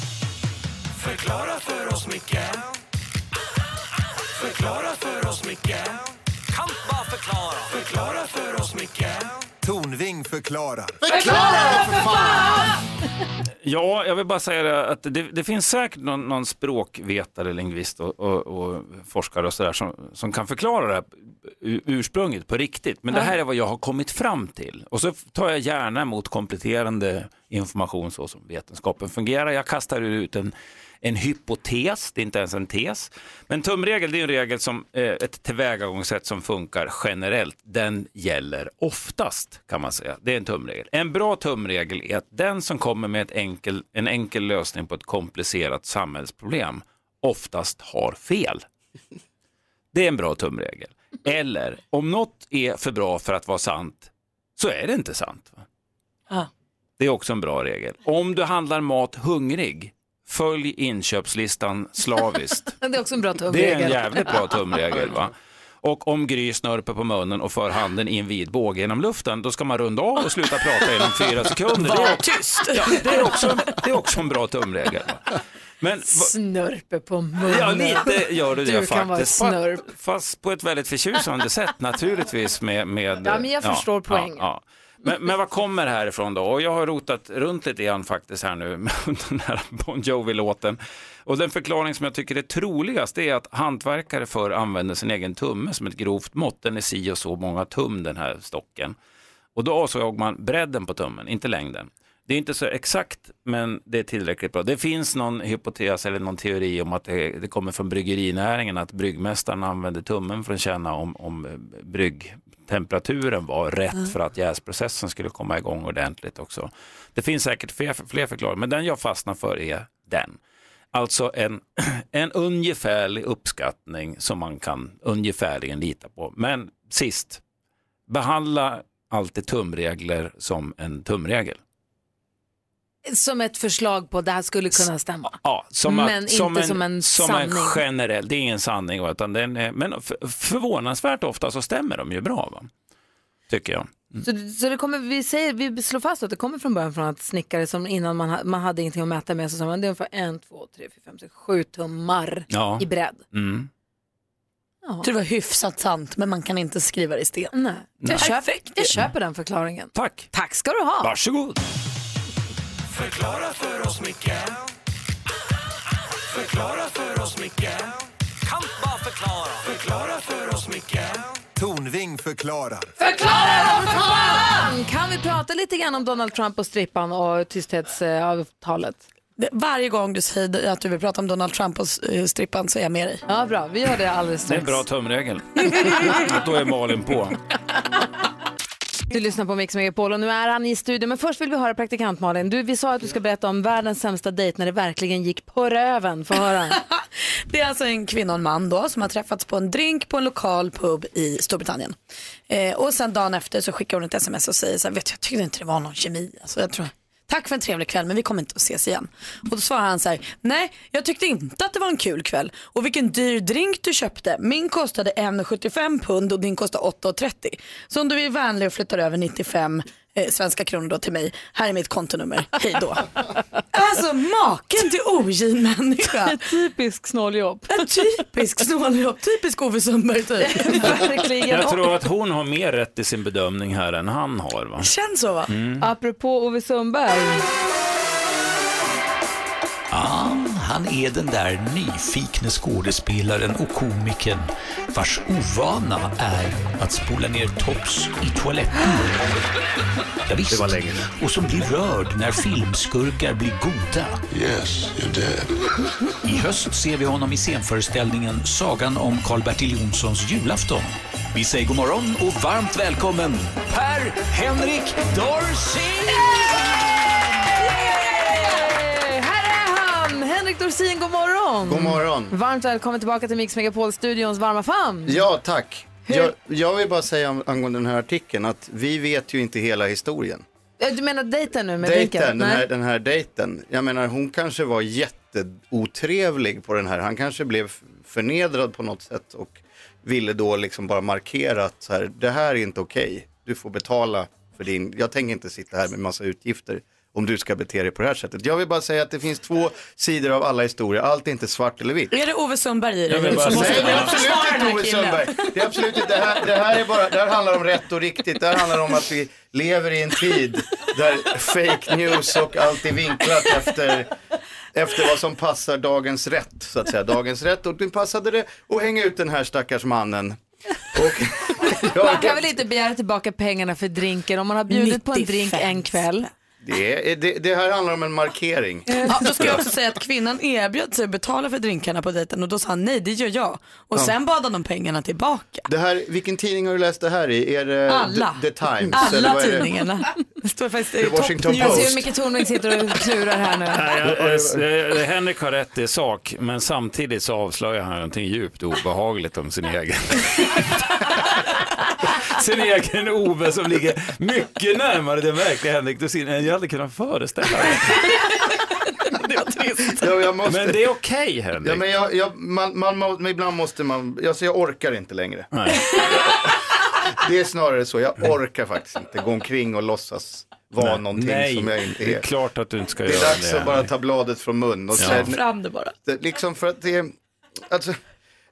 Speaker 16: Förklara för oss, Micke. Förklara för oss, Micke. Kan bara förklara. Förklara för oss, Micke.
Speaker 11: Tornving förklarar.
Speaker 16: Förklara
Speaker 11: för fan!
Speaker 14: Ja, jag vill bara säga det att det, det finns säkert någon, någon språkvetare, lingvist och, och, och forskare och sådär som, som kan förklara det här u- ursprunget på riktigt. Men det
Speaker 18: Ja.
Speaker 14: här är vad jag har kommit fram till. Och så tar jag gärna emot kompletterande information så som vetenskapen fungerar. Jag kastar ut en, en hypotes, det är inte ens en tes. Men tumregel, det är en regel som, eh, ett tillvägagångssätt som funkar generellt. Den gäller oftast kan man säga. Det är en tumregel. En bra tumregel är att den som kommer med ett enkel, en enkel lösning på ett komplicerat samhällsproblem oftast har fel. Det är en bra tumregel. Eller om något är för bra för att vara sant så är det inte sant. Va?
Speaker 2: Ja.
Speaker 14: Det är också en bra regel. Om du handlar mat hungrig, följ inköpslistan slaviskt.
Speaker 1: Det är också en bra tumregel.
Speaker 14: Det är en jävligt bra tumregel. Va? Och om Gry snörper på munnen och för handen i en vid båge genom luften, då ska man runda av och sluta prata inom fyra sekunder. Det
Speaker 1: Var
Speaker 14: är,
Speaker 1: tyst.
Speaker 14: Ja, det, är också, det är också en bra tumregel. Va? Men, va-
Speaker 1: Snörpe på munnen.
Speaker 14: Ja, lite gör du det
Speaker 1: Du
Speaker 14: faktiskt.
Speaker 1: kan vara
Speaker 14: Fa-
Speaker 1: snörp.
Speaker 14: Fast på ett väldigt förtjusande sätt naturligtvis. Med, med,
Speaker 1: Ja, men jag förstår poängen.
Speaker 14: ja. Men, men vad kommer det här ifrån då? Och jag har rotat runt lite grann faktiskt här nu med den här Bon Jovi-låten. Och den förklaring som jag tycker är troligast det är att hantverkare förr använde sin egen tumme som ett grovt mått. Den är si och så många tum den här stocken. Och då avsåg man bredden på tummen, inte längden. Det är inte så exakt, men det är tillräckligt bra. Det finns någon hypotes eller någon teori om att det, det kommer från bryggerinäringen, att bryggmästaren använde tummen för att känna om, om eh, bryggtemperaturen var rätt
Speaker 18: Mm.
Speaker 14: för att jäsprocessen skulle komma igång ordentligt också. Det finns säkert fler, fler förklaringar, men den jag fastnar för är den. Alltså en, en ungefärlig uppskattning som man kan ungefärligen lita på. Men sist, behandla alltid tumregler som en tumregel.
Speaker 1: Som ett förslag på det här skulle kunna stämma.
Speaker 14: Ja, som
Speaker 1: Men
Speaker 14: att,
Speaker 1: inte
Speaker 14: som en,
Speaker 1: som en
Speaker 14: som en
Speaker 1: sanning.
Speaker 14: generell, det är ingen sanning, va, utan den är, men för- förvånansvärt ofta så stämmer de ju bra, va? tycker jag.
Speaker 1: Så, så det kommer, vi, säger, vi slår fast att det kommer från början från att snickare som innan man, ha, man hade ingenting att mäta med så sa man det är ungefär en, två, tre, fyra, fem, sex, sju tummar
Speaker 14: Ja.
Speaker 1: i bredd.
Speaker 14: Mm.
Speaker 1: Ja.
Speaker 2: Det var hyfsat sant, men man kan inte skriva det i sten.
Speaker 1: Nej.
Speaker 2: Nej.
Speaker 1: Jag, köper, jag köper den förklaringen.
Speaker 14: Tack.
Speaker 1: Tack ska du ha.
Speaker 14: Varsågod.
Speaker 16: Förklara för oss, Micke. Förklara för oss, Micke. Kan bara förklara. Förklara för oss, Micke.
Speaker 11: Tornving förklarar.
Speaker 1: Förklara för fan! Kan vi prata lite grann om Donald Trump och strippan och tysthetsavtalet?
Speaker 2: Det- Varje gång du säger att du vill prata om Donald Trump och eh, strippan så är jag med dig.
Speaker 1: Ja, bra. Vi gör det alldeles
Speaker 14: Det är en bra tumregel. Då är Malin på.
Speaker 1: Du lyssnar på Mix Megapol och nu är han i studion. Men först vill vi höra praktikant Malin. Du, vi sa att du ska berätta om världens sämsta dejt när det verkligen gick på röven. Få höra.
Speaker 2: Det är alltså en kvinna och en man då som har träffats på en drink på en lokal pub i Storbritannien. Eh, och sen dagen efter så skickar hon ett sms och säger så här, vet du, jag tyckte inte det var någon kemi. Alltså, jag tror, tack för en trevlig kväll men vi kommer inte att ses igen. Och då svarar han så här, nej jag tyckte inte att det var en kul kväll. Och vilken dyr drink du köpte. Min kostade 1,75 pund och din kostade 8,30. Så om du är vänlig och flyttar över 95 eh, svenska kronor då till mig. Här är mitt kontonummer, hej då. alltså maken till ogin människa. Ett
Speaker 1: Typ. typiskt snåljobb.
Speaker 2: Ett typiskt snåljobb, typisk Ove Sundberg typ.
Speaker 14: Jag tror att hon har mer rätt i sin bedömning här än han har. Va?
Speaker 2: Känns så va?
Speaker 14: Mm.
Speaker 1: Apropå Ove Sundberg.
Speaker 17: Ja, han är den där nyfikne skådespelaren och komikern vars ovana är att spola ner tops i toaletten. Ja, visst.
Speaker 18: Det var länge.
Speaker 17: Och som blir rörd när filmskurkar blir goda. Yes, you're dead. I höst ser vi honom i scenföreställningen Sagan om Karl-Bertil Jonssons julafton. Vi säger god morgon och varmt välkommen Per-Henrik Dorsin!
Speaker 1: Yay! Här är han, Henrik Dorsin, god morgon.
Speaker 19: God morgon.
Speaker 1: Varmt välkommen tillbaka till Mix Megapol-studions varma famn.
Speaker 19: Ja, tack. Jag, jag vill bara säga om- angående den här artikeln att vi vet ju inte hela historien.
Speaker 1: Eh, Du menar dejten nu med Rickard?
Speaker 19: Dejten, den
Speaker 1: Nej.
Speaker 19: här, den här dejten. Jag menar, hon kanske var jätteotrevlig på den här. Han kanske blev f- förnedrad på något sätt och ville då liksom bara markera att så här, det här är inte okej. Du får betala för din, jag tänker inte sitta här med massa utgifter om du ska bete dig på det här sättet. Jag vill bara säga att det finns två sidor av alla historier. Allt är inte svart eller vitt.
Speaker 2: Är det Ove Sundberg i dig?
Speaker 19: Jag vill bara
Speaker 2: Så måste
Speaker 19: säga-
Speaker 2: vi
Speaker 19: Nej, absolut
Speaker 2: försvara
Speaker 19: inte
Speaker 2: den här
Speaker 19: Ove
Speaker 2: killen.
Speaker 19: Sundberg. Det är absolut inte, det här, det här är bara, det här handlar om rätt och riktigt. Det här handlar om att vi lever i en tid där fake news och allt är vinklat efter, efter vad som passar dagens rätt, så att säga. Dagens rätt, och nu passade det att hänga ut den här stackars mannen. Och
Speaker 1: Man
Speaker 19: jag,
Speaker 1: kan väl inte begära tillbaka pengarna för drinken om man har bjudit på en drink en kväll.
Speaker 19: det, är- det, det här handlar om en markering.
Speaker 2: Ja, då ska jag också säga att kvinnan erbjöd sig att betala för drinkarna på dejten och då sa han nej det gör jag. Och
Speaker 19: Ja.
Speaker 2: sen bad han om pengarna tillbaka.
Speaker 19: Det här, vilken tidning har du läst det här i? Är det
Speaker 2: Alla.
Speaker 19: The, The Times? eller
Speaker 2: Alla
Speaker 19: vad är det?
Speaker 2: tidningarna. Det står faktiskt i
Speaker 19: The
Speaker 2: topp
Speaker 19: Washington
Speaker 2: news.
Speaker 1: Alltså hur mycket Tornving sitter och klurar här nu.
Speaker 14: Nej, jag- jag- jag- eh, Henrik har rätt i sak, men samtidigt så avslöjar han någonting djupt obehagligt om sin egen. sin egen Ove som ligger mycket närmare den verkliga Henrik Dorsin än jag hade kunnat föreställa mig.
Speaker 19: Ja, jag måste...
Speaker 14: Men det är okej Henrik.
Speaker 19: Ja, men jag, jag, man, man, må- men ibland måste man, alltså jag orkar inte längre. Det är snarare så, jag orkar faktiskt inte gå omkring och låtsas vara
Speaker 14: Nej.
Speaker 19: någonting
Speaker 14: Nej,
Speaker 19: som jag inte är.
Speaker 14: det är klart att du inte ska
Speaker 19: Det är
Speaker 14: göra
Speaker 19: dags
Speaker 14: det,
Speaker 19: att bara
Speaker 14: Henrik.
Speaker 19: ta bladet från mun. Och
Speaker 14: Ja.
Speaker 19: sen,
Speaker 2: Fram det bara.
Speaker 19: det, liksom för att det är, alltså,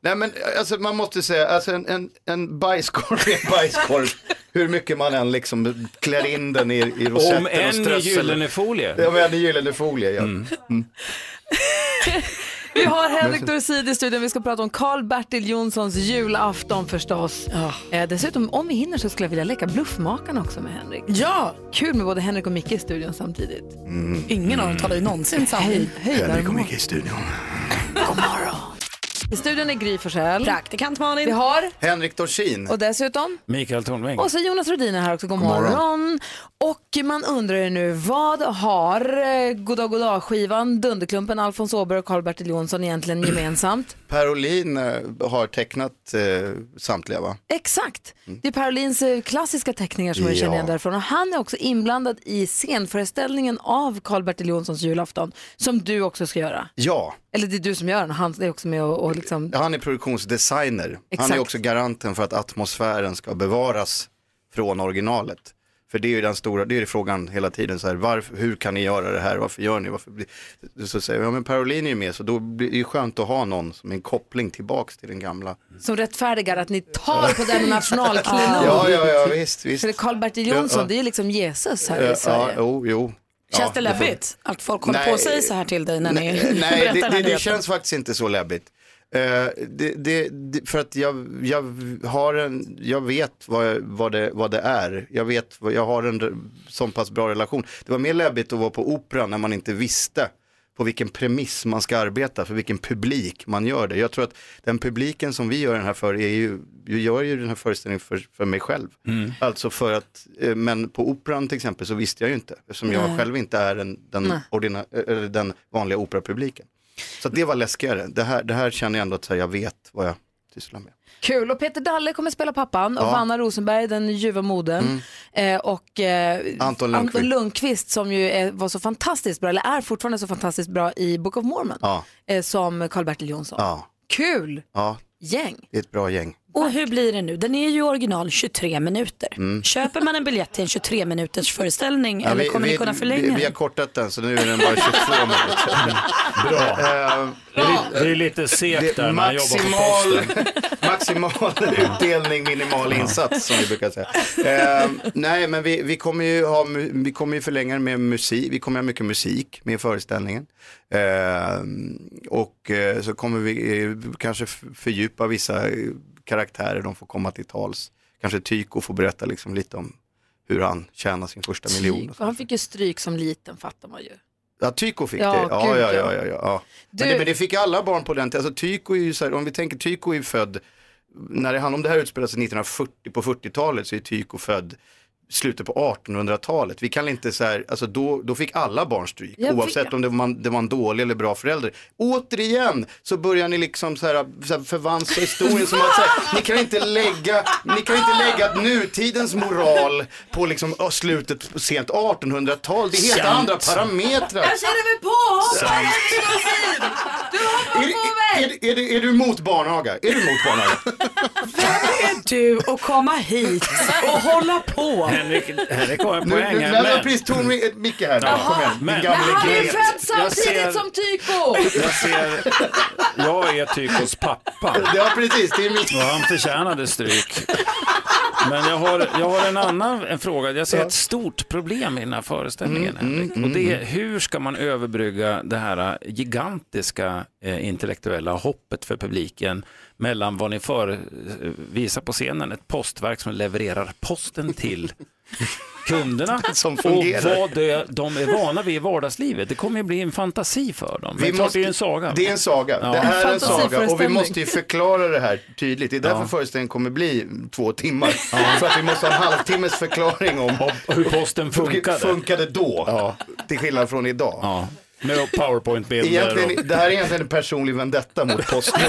Speaker 19: nej men alltså man måste säga, alltså en, en, en bajskorv är en bajskorv. Hur mycket man än liksom klär in den i, i rosetten
Speaker 14: Om
Speaker 19: och
Speaker 14: än i
Speaker 19: strössel.
Speaker 14: gyllene folie. Mm.
Speaker 19: Ja, men en i gyllene folie, ja.
Speaker 1: Vi har Henrik Dorsin i studion. Vi ska prata om Karl-Bertil Jonssons julafton förstås. Eh, dessutom, om vi hinner så skulle jag vilja leka Bluffmakarna också med Henrik.
Speaker 2: Ja!
Speaker 1: Kul med både Henrik och Micke i studion samtidigt.
Speaker 19: Mm.
Speaker 1: Mm.
Speaker 2: Ingen av dem talar ju någonsin sanning.
Speaker 1: Hej, hej där.
Speaker 19: i studion.
Speaker 1: I studion är Gry Forssell.
Speaker 2: Praktikant Malin.
Speaker 1: Vi har,
Speaker 19: Henrik Dorsin.
Speaker 1: och dessutom,
Speaker 14: Mikael Tornving.
Speaker 1: Och så Jonas Rhodin är här också, god
Speaker 14: God
Speaker 1: morgon.
Speaker 14: morgon.
Speaker 1: Och man undrar ju nu, vad har eh, Goddag Goddag skivan, Dunderklumpen, Alfons Åberg och Karl-Bertil Jonsson egentligen gemensamt?
Speaker 19: Per Olin eh, har tecknat eh, samtliga va?
Speaker 1: Exakt, det är Parolins eh, klassiska teckningar som jag
Speaker 19: Mm. Ja.
Speaker 1: känner igen därifrån. Och han är också inblandad i scenföreställningen av Karl-Bertil Jonssons julafton, som du också ska göra.
Speaker 19: Ja,
Speaker 1: Eller det är du som gör den, han är också med och, och liksom...
Speaker 19: han är produktionsdesigner. Han
Speaker 1: Exakt.
Speaker 19: är också garanten för att atmosfären ska bevaras från originalet. För det är ju den stora, det är ju frågan hela tiden, så här, varför, hur kan ni göra det här, varför gör ni, varför blir... Så säger jag, ja men Per Olin är ju med, så då blir det ju skönt att ha någon som är en koppling tillbaks till den gamla.
Speaker 1: Som rättfärdigar att ni tar på den nationalklenod.
Speaker 19: Ja, ja, ja, visst, visst.
Speaker 1: För Karl-Bertil Jonsson,
Speaker 19: Ja.
Speaker 1: det är ju liksom Jesus här i
Speaker 19: Eh,
Speaker 1: Sverige.
Speaker 19: Ja, jo, jo. Ja,
Speaker 2: Känns det
Speaker 19: det får-
Speaker 2: läbbigt att folk håller på
Speaker 19: Nej.
Speaker 2: och säger så här till dig när ni
Speaker 19: Nej,
Speaker 2: berättar
Speaker 19: det,
Speaker 2: den
Speaker 19: det,
Speaker 2: här
Speaker 19: det
Speaker 2: nyheten?
Speaker 19: känns faktiskt inte så läbbigt. Eh, det, det, det, för att jag, jag, har en, jag vet vad, jag- vad, det, vad det är. Jag, vet, vad- jag har en re- sån pass bra relation. Det var mer läbbigt att vara på operan när man inte visste på vilken premiss man ska arbeta, för vilken publik man gör det. Jag tror att den publiken som vi gör den här för, är ju, jag gör ju den här föreställningen för, för mig själv. Alltså för att, eh, men på operan till exempel så visste jag ju inte, eftersom jag
Speaker 20: Nej.
Speaker 19: själv inte är en, den,
Speaker 20: Nej.
Speaker 19: ordina, eh, eller den vanliga operapubliken. Så att det var läskigare. Det här, det här känner jag ändå att så här, jag vet vad jag sysslar med.
Speaker 1: Kul, och Peter Dalle kommer spela pappan och
Speaker 19: Ja. Mm.
Speaker 1: Vanna Rosenberg, den ljuva modern. Eh, och eh,
Speaker 19: Anton Lundqvist.
Speaker 1: Lundqvist som ju är, var så fantastiskt bra, eller är fortfarande så fantastiskt bra i Book of Mormon
Speaker 19: Ja,
Speaker 1: eh, som Karl-Bertil Jonsson.
Speaker 19: ja,
Speaker 1: Kul
Speaker 19: ja,
Speaker 1: gäng.
Speaker 19: det är ett bra gäng.
Speaker 2: Och hur blir det nu? Den är ju original 23 minuter. Köper man en biljett till en 23 minuters föreställning
Speaker 19: Mm. Ja,
Speaker 2: eller kommer ni kunna
Speaker 19: vi,
Speaker 2: förlänga
Speaker 19: vi har
Speaker 2: den?
Speaker 19: kortat den så nu är den bara 22 minuter. Eh, Bra.
Speaker 14: Det är lite segt där när man jobbar på
Speaker 19: maximal,
Speaker 14: posten.
Speaker 19: maximal utdelning, minimal insats som vi brukar säga. Eh, nej, men vi, vi, kommer ju ha, mu- vi kommer ju förlänga den med musik. Vi kommer ha mycket musik med i föreställningen. Eh, och eh, så kommer vi eh, kanske f- fördjupa vissa eh, karaktärer. De får komma till tals. Kanske Tyko får berätta liksom lite om hur han tjänar sin första miljon.
Speaker 1: Tyk, han fick ju stryk som liten fattar man ju.
Speaker 19: Ja, Tyko fick
Speaker 1: Ja,
Speaker 19: det. Ja,
Speaker 1: gud,
Speaker 19: ja,
Speaker 1: ja.
Speaker 19: ja, ja, ja. Men,
Speaker 1: Du-
Speaker 19: det, men det fick alla barn på den tiden. Alltså, Tyko är ju så här, om vi tänker Tyko är ju född, när det handlar om det här utspelar sig 1940 på 40-talet så är Tyko född slutet på 1800-talet. Vi kan inte så här, alltså då, då fick alla barn stryk,
Speaker 7: Jag vet.
Speaker 19: oavsett om det var, man, det var en dålig eller bra förälder. Återigen så börjar ni liksom så här, så här förvanska historien som att så här, ni kan inte lägga, ni kan inte lägga nutidens moral på liksom ö, slutet på sent 1800-tal. Det är helt
Speaker 16: Sant.
Speaker 19: andra parametrar.
Speaker 16: Jag känner mig påhoppad
Speaker 19: Sant.
Speaker 16: Du hoppar på
Speaker 19: Är,
Speaker 16: mig!
Speaker 19: är, är, du- är du mot barnaga? Är du mot barnaga?
Speaker 2: Vem är du att komma hit och hålla på?
Speaker 14: Henrik, Henrik har en
Speaker 19: Nu-
Speaker 14: poäng.
Speaker 19: nu
Speaker 14: här,
Speaker 19: lämnar
Speaker 14: men-
Speaker 19: precis ton med Micke här.
Speaker 14: Ja,
Speaker 19: Kom igen,
Speaker 14: men-
Speaker 19: din gamle
Speaker 1: Han är ju
Speaker 19: gret.
Speaker 1: född samtidigt
Speaker 14: ser-
Speaker 1: som Tyko!
Speaker 14: Jag ser, jag är Tykos pappa.
Speaker 19: Ja, precis. Det är mitt.
Speaker 14: Och han förtjänade stryk. Men jag har, jag har en annan en fråga. Jag ser ett stort problem i den här föreställningen,
Speaker 19: Mm,
Speaker 14: Henrik. Och det är hur ska man överbrygga det här äh, gigantiska eh, intellektuella hoppet för publiken mellan vad ni för, eh, visar på scenen, ett postverk som levererar posten till kunderna
Speaker 19: Som
Speaker 14: och
Speaker 19: fungerar.
Speaker 14: vad de, de är vana vid i vardagslivet. Det kommer ju bli en fantasi för dem. Men
Speaker 19: Vi
Speaker 14: klart,
Speaker 19: måste-
Speaker 14: det är en saga.
Speaker 19: Det är en saga.
Speaker 14: Ja.
Speaker 19: Det
Speaker 14: En
Speaker 19: är en saga och vi
Speaker 14: fantasiföreställning.
Speaker 19: måste ju förklara det här tydligt. Det är därför föreställningen kommer bli två timmar. För att vi måste ha en halvtimmes förklaring om
Speaker 14: hur posten funkade.
Speaker 19: funkade då. Till skillnad från idag.
Speaker 14: Med powerpoint-bilder.
Speaker 19: Egentligen, det här är egentligen en personlig vendetta mot Postnord.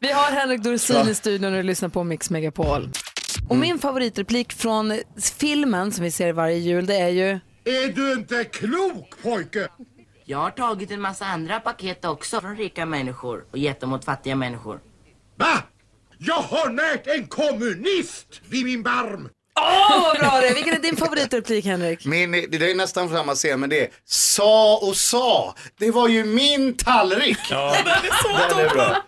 Speaker 1: Vi har Henrik Dorsin
Speaker 19: Ja. Mm.
Speaker 1: i studion och du lyssnar på Mix Megapol. Och min favoritreplik från filmen som vi ser varje jul det är ju
Speaker 18: Är du inte klok pojke? Jag har tagit en massa andra paket också från rika människor och gett dem åt fattiga människor.
Speaker 16: Va? Jag har närt en kommunist vid min barm.
Speaker 1: Åh, vad bra det är. Vilken är din favoritreplik Henrik?
Speaker 19: Min, det är nästan samma scen, men det är sa och sa. Det var ju min tallrik. Den är bra.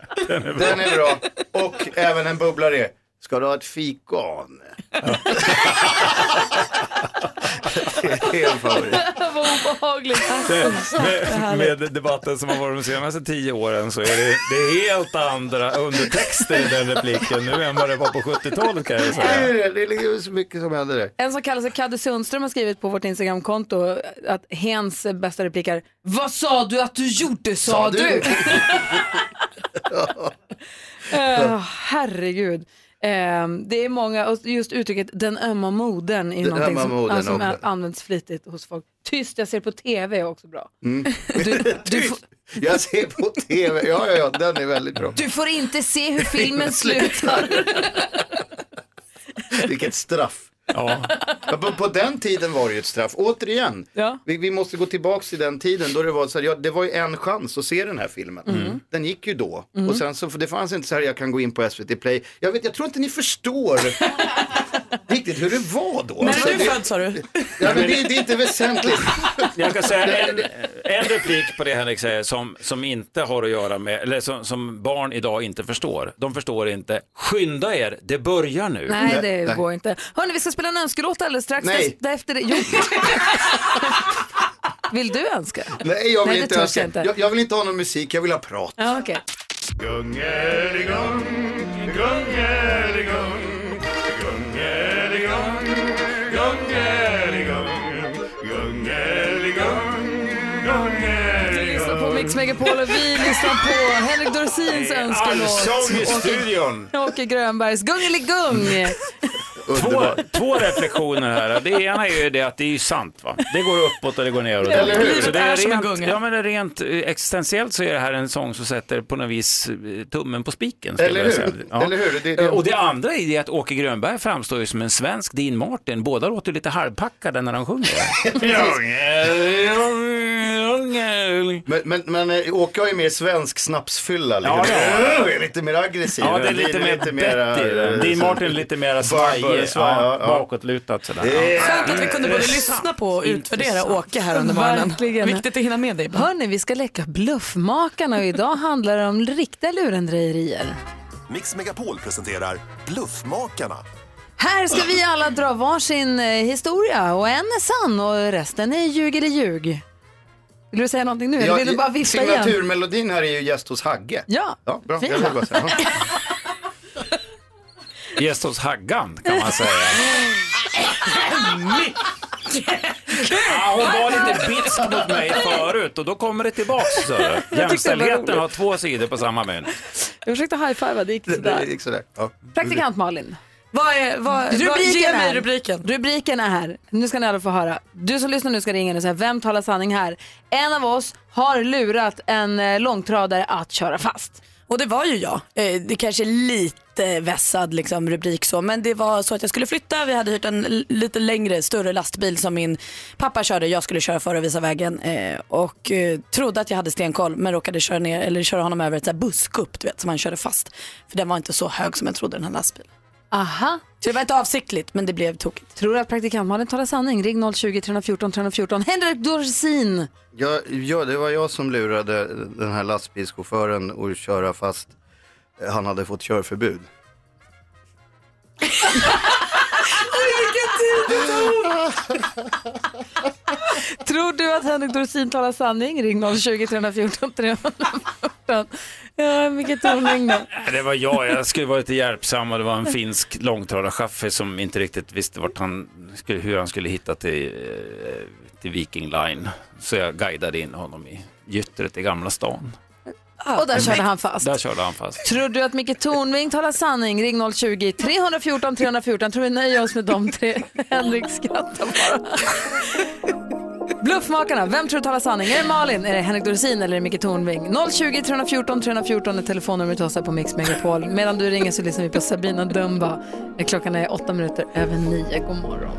Speaker 19: Den är bra. Och även en bubblare. Ska du ha ett fikon? det är en favorit.
Speaker 1: Vad obehagligt.
Speaker 14: Med, med debatten som har varit de senaste tio åren så är det, det är helt andra undertexter i den repliken nu än vad det var på 70-talet kan jag
Speaker 19: Det är
Speaker 14: säga.
Speaker 19: det. Det är liksom så mycket som händer där.
Speaker 1: En som kallar sig Kadde Sundström har skrivit på vårt Instagramkonto att hens bästa replik är Vad sa du att du gjorde sa,
Speaker 16: Sa
Speaker 1: du?
Speaker 16: du?"
Speaker 1: Eh, herregud. Eh, det är många, och just uttrycket den ömma modern är
Speaker 19: Den
Speaker 1: någonting
Speaker 19: ömma
Speaker 1: som,
Speaker 19: modern
Speaker 1: ja, som
Speaker 19: också.
Speaker 1: används flitigt hos folk. Tyst, jag ser på tv är också bra.
Speaker 19: Mm. Tyst. Jag ser på tv. Ja, ja, ja, den är väldigt bra.
Speaker 1: Du får inte se hur filmen slutar.
Speaker 19: Vilket straff.
Speaker 14: Ja.
Speaker 19: På, på den tiden var det ju ett straff. Återigen, vi, vi måste gå tillbaka till den tiden då det var så här, ja, det var ju en chans att se den här filmen.
Speaker 16: Mm.
Speaker 19: Den gick ju då.
Speaker 16: Mm.
Speaker 19: Och sen så, för det fanns inte så här, jag kan gå in på SVT Play. Jag vet, jag tror inte ni förstår riktigt hur det var då.
Speaker 2: När
Speaker 19: Alltså,
Speaker 2: är du
Speaker 19: det-
Speaker 2: född sa du?
Speaker 19: Ja, men det, det är inte väsentligt.
Speaker 14: Jag kan säga en, en replik på det Henrik säger som, som inte har att göra med, eller som, som barn idag inte förstår. De förstår inte, skynda er, det börjar nu.
Speaker 1: Nej, det går inte. Hörni, vi ska spela en önskelåt alldeles strax.
Speaker 14: Nej.
Speaker 1: Därefter det. Jo. Vill du önska?
Speaker 19: Nej, jag vill
Speaker 1: det
Speaker 19: inte
Speaker 1: törs
Speaker 19: önska.
Speaker 1: jag inte.
Speaker 19: Jag, jag vill inte ha någon musik, jag vill ha prat.
Speaker 1: Ja, okej.
Speaker 16: Gungeligång, gungeligång, gungeligång, gungeligång, gungeligång,
Speaker 1: lyssnar på Mix
Speaker 16: gungeligång.
Speaker 1: Megapol och vi lyssnar på Henrik Dorsins önskelåt.
Speaker 14: Allsång i
Speaker 1: Åke-
Speaker 14: studion.
Speaker 1: Mm. Åke Grönbergs Gungeligung.
Speaker 14: Två, två reflektioner här. Det ena är ju det att det är ju sant. Va? Det går uppåt och det går neråt.
Speaker 16: Eller hur?
Speaker 14: Så det är
Speaker 16: Livet är som en
Speaker 14: rent,
Speaker 16: gunga.
Speaker 14: ja, men det är rent eh, existentiellt så är det här en sång som sätter på något vis eh, tummen på spiken. skulle
Speaker 19: Eller
Speaker 14: jag
Speaker 19: hur?
Speaker 14: säga. Ja.
Speaker 19: Eller hur? Det- det-
Speaker 14: Eh, Och det andra är ju att Åke Grönberg framstår ju som en svensk Dean Martin. Båda låter lite halvpackade när de sjunger. Precis.
Speaker 19: Men, men, men eh, Åke har ju mer svensk snapsfylla. Liksom.
Speaker 14: Ja, det
Speaker 19: är lite mer aggressiv.
Speaker 14: Ja, det är lite mer
Speaker 19: eh,
Speaker 14: Betty. Dean
Speaker 19: liksom
Speaker 14: Martin är lite mer svajig, ja, bakåtlutat sådär.
Speaker 19: Det är-
Speaker 2: Skönt att vi kunde både lyssna på och utvärdera Åke här under morgonen.
Speaker 1: Verkligen.
Speaker 2: Viktigt att hinna med dig.
Speaker 1: Hörni, vi ska leka bluffmakarna och idag handlar det om riktiga lurendrejerier.
Speaker 11: Mix Megapol presenterar Bluffmakarna.
Speaker 1: Här ska vi alla dra varsin eh, historia och en är sann och resten är ljug eller ljug. Vill du säga någonting nu eller vill du bara vifta igen?
Speaker 19: Signaturmelodin här är ju Gäst hos Hagge.
Speaker 1: Ja,
Speaker 19: ja bra.
Speaker 1: fin
Speaker 19: Jag vill
Speaker 1: va?
Speaker 19: bara säga. ja.
Speaker 14: Gäst hos Haggan kan man säga. Ja, hon var lite bitsk mot mig förut och då kommer det tillbaks. så. Jämställdheten har två sidor på samma mynt.
Speaker 1: Jag försökte high-fiva, det gick sådär.
Speaker 19: gick sådär.
Speaker 1: Praktikant Malin.
Speaker 2: Vad är, vad, vad, ge
Speaker 1: Rubriken
Speaker 2: mig
Speaker 1: är,
Speaker 2: rubriken.
Speaker 1: rubriken är här. Nu ska ni alla få höra. Du som lyssnar nu ska ringa in och säga vem talar sanning här? En av oss har lurat en eh, långtradare att köra fast.
Speaker 2: Och det var ju jag. Eh, Det kanske är lite vässad liksom, rubrik så, men det var så att jag skulle flytta. Vi hade hyrt en l- lite längre, större lastbil som min pappa körde. Jag skulle köra före och visa vägen eh, och eh, trodde att jag hade stenkoll men råkade köra, ner, eller köra honom över ett så här busskupp du vet, som han körde fast. För den var inte så hög som jag trodde den här lastbilen.
Speaker 1: Aha.
Speaker 2: Så det var inte avsiktligt men det blev tokigt.
Speaker 1: Tror du att praktikant Malin talar sanning? Ring 020 314 314. Henrik Dorsin.
Speaker 19: Ja, ja, det var jag som lurade den här lastbilschauffören att köra fast eh, han hade fått körförbud.
Speaker 1: Vilken tid det tog! Tror du att Henrik Dorsin talar sanning? Ring 020 314 314. Ja, vilket ordning då.
Speaker 14: Det var jag, jag skulle vara lite hjälpsam och det var en finsk långtradarchaufför som inte riktigt visste vart han skulle, hur han skulle hitta till, eh, till Viking Line. Så jag guidade in honom i gyttret i Gamla stan.
Speaker 1: Och där körde han fast.
Speaker 14: Där körde han fast.
Speaker 1: Tror du att Micke Tornving talar sanning? Ring 020 314 314. Tror vi nöjer oss med de tre. Henrik skrattar bara. Bluffmakarna, vem tror du talar sanning? Är det Malin, är det Henrik Dorsin eller är det Micke Tornving? 020 314 314 är telefonnumret till oss här på Mix Megapol. Medan du ringer så lyssnar vi på Sabina Dumba. Klockan är åtta minuter över nio. God morgon.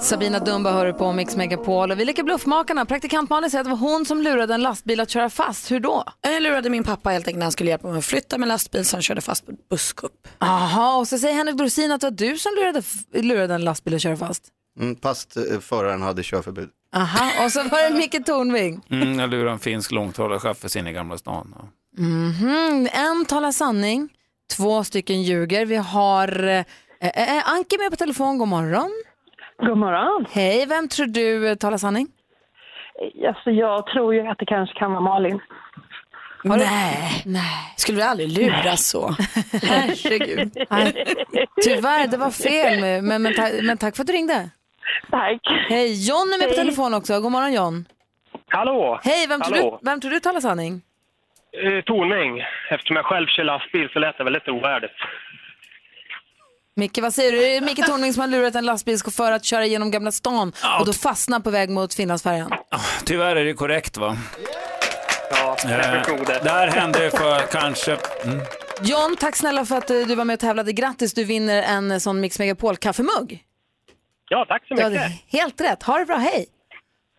Speaker 1: Sabina Dumba hör på Mix Megapol och vi leker Bluffmakarna. Praktikant Malin säger att det var hon som lurade en lastbil att köra fast. Hur då?
Speaker 2: Jag Eh, lurade min pappa helt enkelt när han skulle hjälpa mig att flytta min lastbil så han körde fast på ett busskupp.
Speaker 1: Jaha, och så säger Henrik Dorsin att det var du som lurade, lurade en lastbil att köra fast.
Speaker 19: Mm, fast eh, föraren hade körförbud.
Speaker 1: Aha, och så var det Micke Tornving.
Speaker 14: Mm, jag lurade en finsk långtradarchaufför in i Gamla stan. Ja.
Speaker 1: Mhm, En talar sanning, två stycken ljuger. Vi har eh, eh, eh, Anke med på telefon. God morgon.
Speaker 20: God morgon.
Speaker 1: Hej, vem tror du eh, talar sanning?
Speaker 20: Alltså, jag tror ju att det kanske kan vara Malin.
Speaker 2: Nej.
Speaker 1: Nej.
Speaker 2: Skulle vi aldrig luras så?
Speaker 1: Herregud. Nej, Tyvärr, det var fel. Men, men, ta- men tack för att du ringde.
Speaker 20: Tack.
Speaker 1: Hej, John är med på
Speaker 20: Hej.
Speaker 1: telefon också. God morgon John.
Speaker 21: Hallå!
Speaker 1: Hej, vem tror, du,
Speaker 21: Hallå.
Speaker 1: vem tror du talar sanning?
Speaker 21: Eh, Tornving. Eftersom jag själv kör lastbil så lät det väldigt ovärdigt.
Speaker 1: Micke, vad säger du? Är det Micke Tornving som har lurat en lastbilschaufför att köra genom Gamla stan och då fastna på väg mot Finlandsfärjan?
Speaker 14: Tyvärr är det korrekt va?
Speaker 21: Ja, jag förstod det.
Speaker 14: det här hände för kanske... Mm.
Speaker 1: John, tack snälla för att eh, du var med och tävlade. Grattis, du vinner en eh, sån Mix Megapol-kaffemugg.
Speaker 21: Ja, tack så
Speaker 1: Du
Speaker 21: mycket.
Speaker 1: hade helt rätt. Ha det bra, hej!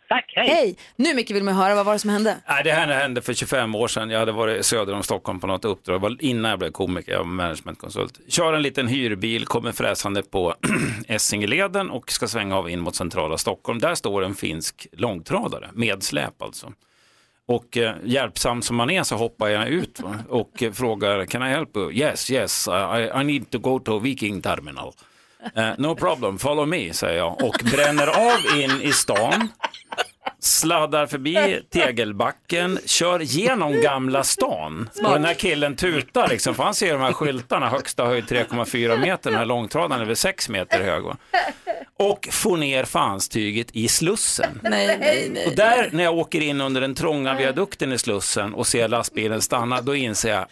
Speaker 21: Tack, hej!
Speaker 1: hej. Nu Micke vill man höra, vad var det som hände?
Speaker 14: Nej, det här hände för 25 år sedan. Jag hade varit söder om Stockholm på något uppdrag Det var innan jag blev komiker, jag var managementkonsult. Kör en liten hyrbil, kommer fräsande på Essingeleden och ska svänga av in mot centrala Stockholm. Där står en finsk långtradare, med släp alltså. Och eh, hjälpsam som man är så hoppar jag ut va? och eh, frågar Can I help you? Yes, yes, I, I need to go to Viking terminal. Eh, no problem, follow me, säger jag och bränner av in i stan sladdar förbi tegelbacken, kör genom Gamla stan. Och den här killen tutar liksom, för han ser de här skyltarna, högsta höjd 3,4 meter, den här långtradaren är väl 6 meter hög. Va? Och får ner fanstyget i Slussen.
Speaker 2: Nej, nej, nej.
Speaker 14: Och där när jag åker in under den trånga viadukten i Slussen och ser lastbilen stanna, då inser jag,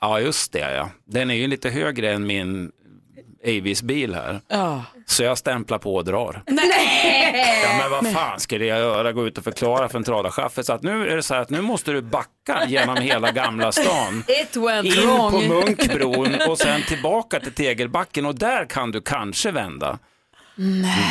Speaker 14: ja just det ja, den är ju lite högre än min Avis bil här.
Speaker 2: Ja.
Speaker 14: Så jag stämplar på och drar.
Speaker 2: Nej!
Speaker 14: Ja, men vad fan skulle jag göra? Gå ut och förklara för en tradarchaufför så att nu är det så här att nu måste du backa genom hela Gamla stan.
Speaker 1: It went
Speaker 14: In
Speaker 1: wrong.
Speaker 14: på Munkbron och sen tillbaka till Tegelbacken och där kan du kanske vända.
Speaker 1: Nej.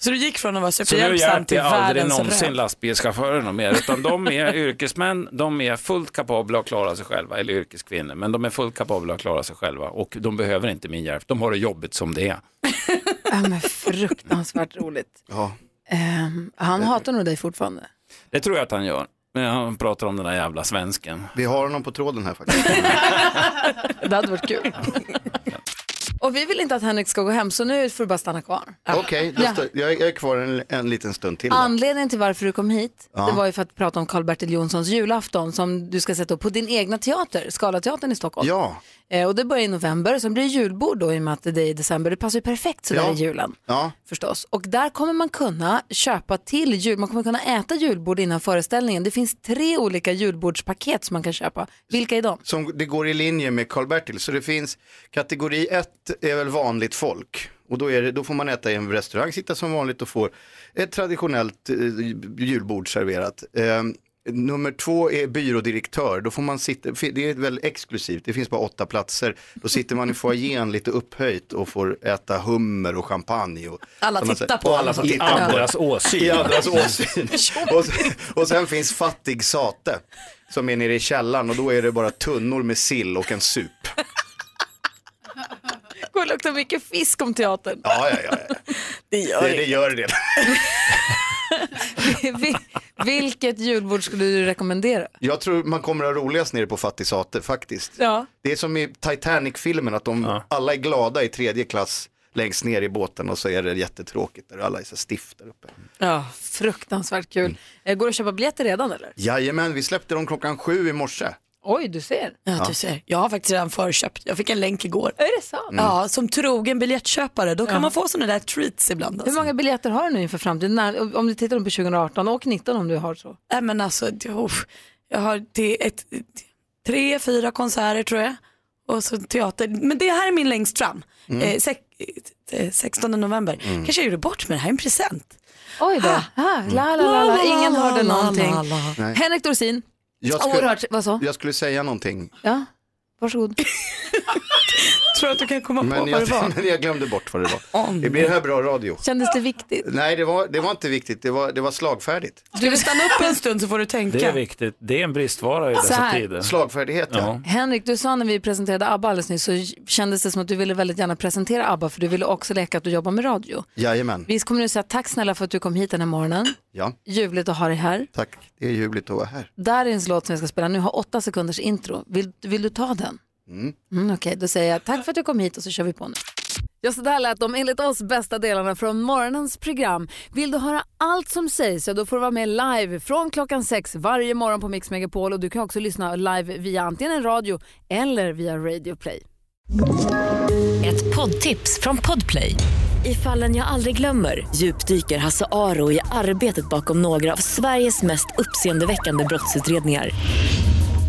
Speaker 2: Så du gick från att vara
Speaker 14: Så nu
Speaker 2: superhjälpsam
Speaker 14: hjälpte
Speaker 2: till
Speaker 14: jag aldrig
Speaker 2: världens
Speaker 14: någonsin
Speaker 2: röv.
Speaker 14: lastbilschaufförerna mer, utan de är yrkesmän, de är fullt kapabla att klara sig själva, eller yrkeskvinnor, men de är fullt kapabla att klara sig själva och de behöver inte min hjälp, de har det jobbigt som det är.
Speaker 1: Ja, men fruktansvärt roligt.
Speaker 14: Ja.
Speaker 1: Ehm, han hatar nog dig fortfarande.
Speaker 14: Det tror jag att han gör, men han pratar om den där jävla svensken.
Speaker 19: Vi har honom på tråden här faktiskt.
Speaker 1: Det hade varit kul. Och vi vill inte att Henrik ska gå hem så nu får du bara stanna kvar.
Speaker 19: Okej, då
Speaker 1: Ja.
Speaker 19: står- jag, jag är kvar en, en liten stund till. då.
Speaker 1: Anledningen till varför du kom hit,
Speaker 19: Ja.
Speaker 1: det var ju för att prata om Karl-Bertil Jonssons julafton som du ska sätta upp på din egna teater, Scalateatern i Stockholm.
Speaker 19: Ja.
Speaker 1: Eh, och det börjar i november, sen blir det julbord då i och med att det är i december. Det passar ju perfekt sådär
Speaker 19: Ja.
Speaker 1: i julen.
Speaker 19: Ja.
Speaker 1: Förstås. Och där kommer man kunna köpa till jul, man kommer kunna äta julbord innan föreställningen. Det finns tre olika julbordspaket som man kan köpa. Vilka är de?
Speaker 19: Som det går i linje med Karl-Bertil. Så det finns kategori 1 är väl vanligt folk. Och då, är det, då får man äta i en restaurang, sitta som vanligt och få ett traditionellt eh, julbord serverat. Eh, nummer två är byrådirektör. Då får man sitta, fi- det är väl exklusivt, det finns bara åtta platser. Då sitter man i foajén lite upphöjt och får äta hummer och champagne. Och,
Speaker 1: Alla
Speaker 19: som man säger-
Speaker 1: tittar på
Speaker 19: och alla
Speaker 1: en.
Speaker 19: som tittar
Speaker 1: I
Speaker 19: på
Speaker 1: andras
Speaker 19: en.
Speaker 14: åsyn.
Speaker 19: I andras åsyn. och, sen, och sen finns fattig sate som är nere i källaren och då är det bara tunnor med sill och en sup.
Speaker 1: Det kommer lukta mycket fisk om teatern.
Speaker 19: Ja, ja, ja. ja.
Speaker 2: Det
Speaker 1: gör
Speaker 19: det. Gör det.
Speaker 1: Vil- Vilket julbord skulle du rekommendera?
Speaker 19: Jag tror man kommer att ha roligast nere på fattig sate faktiskt.
Speaker 1: Ja.
Speaker 19: Det är som i Titanic-filmen att de alla är glada i tredje klass längst ner i båten och så är det jättetråkigt där alla är så stift där uppe.
Speaker 1: Ja, fruktansvärt kul.
Speaker 19: Mm.
Speaker 1: Eh, Går det att köpa biljetter redan eller?
Speaker 19: Jajamän, vi släppte dem klockan sju i morse.
Speaker 1: Oj, du ser.
Speaker 2: Ja, du ser. Jag har faktiskt redan förköpt. Jag fick en länk igår.
Speaker 1: Är det sant?
Speaker 19: Mm.
Speaker 2: Ja, som trogen biljettköpare. Då kan man få sådana där treats ibland.
Speaker 1: Hur
Speaker 2: Alltså.
Speaker 1: många biljetter har du nu inför framtiden? När, om du tittar på 2018 och 19 om du har så.
Speaker 2: Nej, men alltså, det- uff. jag har det ett, tre, fyra konserter tror jag. Och så teater. Men det här är min längst fram.
Speaker 1: Mm.
Speaker 2: Eh, sex, eh, 16 november.
Speaker 1: Mm.
Speaker 2: Kanske jag gjorde bort mig. Det här är en present.
Speaker 1: Oj då. Ah, la, la, la, la. Ingen hörde någonting.
Speaker 19: Mm. Nej.
Speaker 1: Henrik Dorsin. Oerhört, vad sa?
Speaker 19: jag skulle säga någonting.
Speaker 1: Ja, varsågod.
Speaker 2: Tror att du kan komma
Speaker 19: Men jag, men jag glömde bort vad det var. det blir här bra radio.
Speaker 1: Kändes det viktigt?
Speaker 19: Nej, det var, det var inte viktigt. Det var, det var slagfärdigt.
Speaker 2: Du vill stanna upp en stund så får du tänka.
Speaker 14: Det är viktigt, det är en bristvara i
Speaker 1: Så
Speaker 14: dessa
Speaker 1: här.
Speaker 14: tider.
Speaker 19: Slagfärdighet,
Speaker 14: ja.
Speaker 1: Henrik, du sa när vi presenterade ABBA alldeles nyss så kändes det som att du ville väldigt gärna presentera ABBA för du ville också leka att du jobbar med radio.
Speaker 19: Jajamän.
Speaker 1: Vi kommer nu säga tack snälla för att du kom hit den här morgonen.
Speaker 19: Ja,
Speaker 1: Ljuvligt att ha dig här.
Speaker 19: tack. Det är ljuvligt att vara här.
Speaker 1: Darins låt som jag ska spela nu har åtta sekunders intro. Vill, vill du ta den?
Speaker 19: Mm.
Speaker 1: Mm, Okej, då säger jag tack för att du kom hit och så kör vi på nu. Ja, så där lät de enligt oss bästa delarna från morgonens program. Vill du höra allt som sägs, ja, då får du vara med live från klockan sex varje morgon på Mix Megapol. Och du kan också lyssna live via antingen en radio eller via Radio Play.
Speaker 22: Ett poddtips från Podplay. I fallen jag aldrig glömmer djupdyker Hasse Aro i arbetet bakom några av Sveriges mest uppseendeväckande brottsutredningar.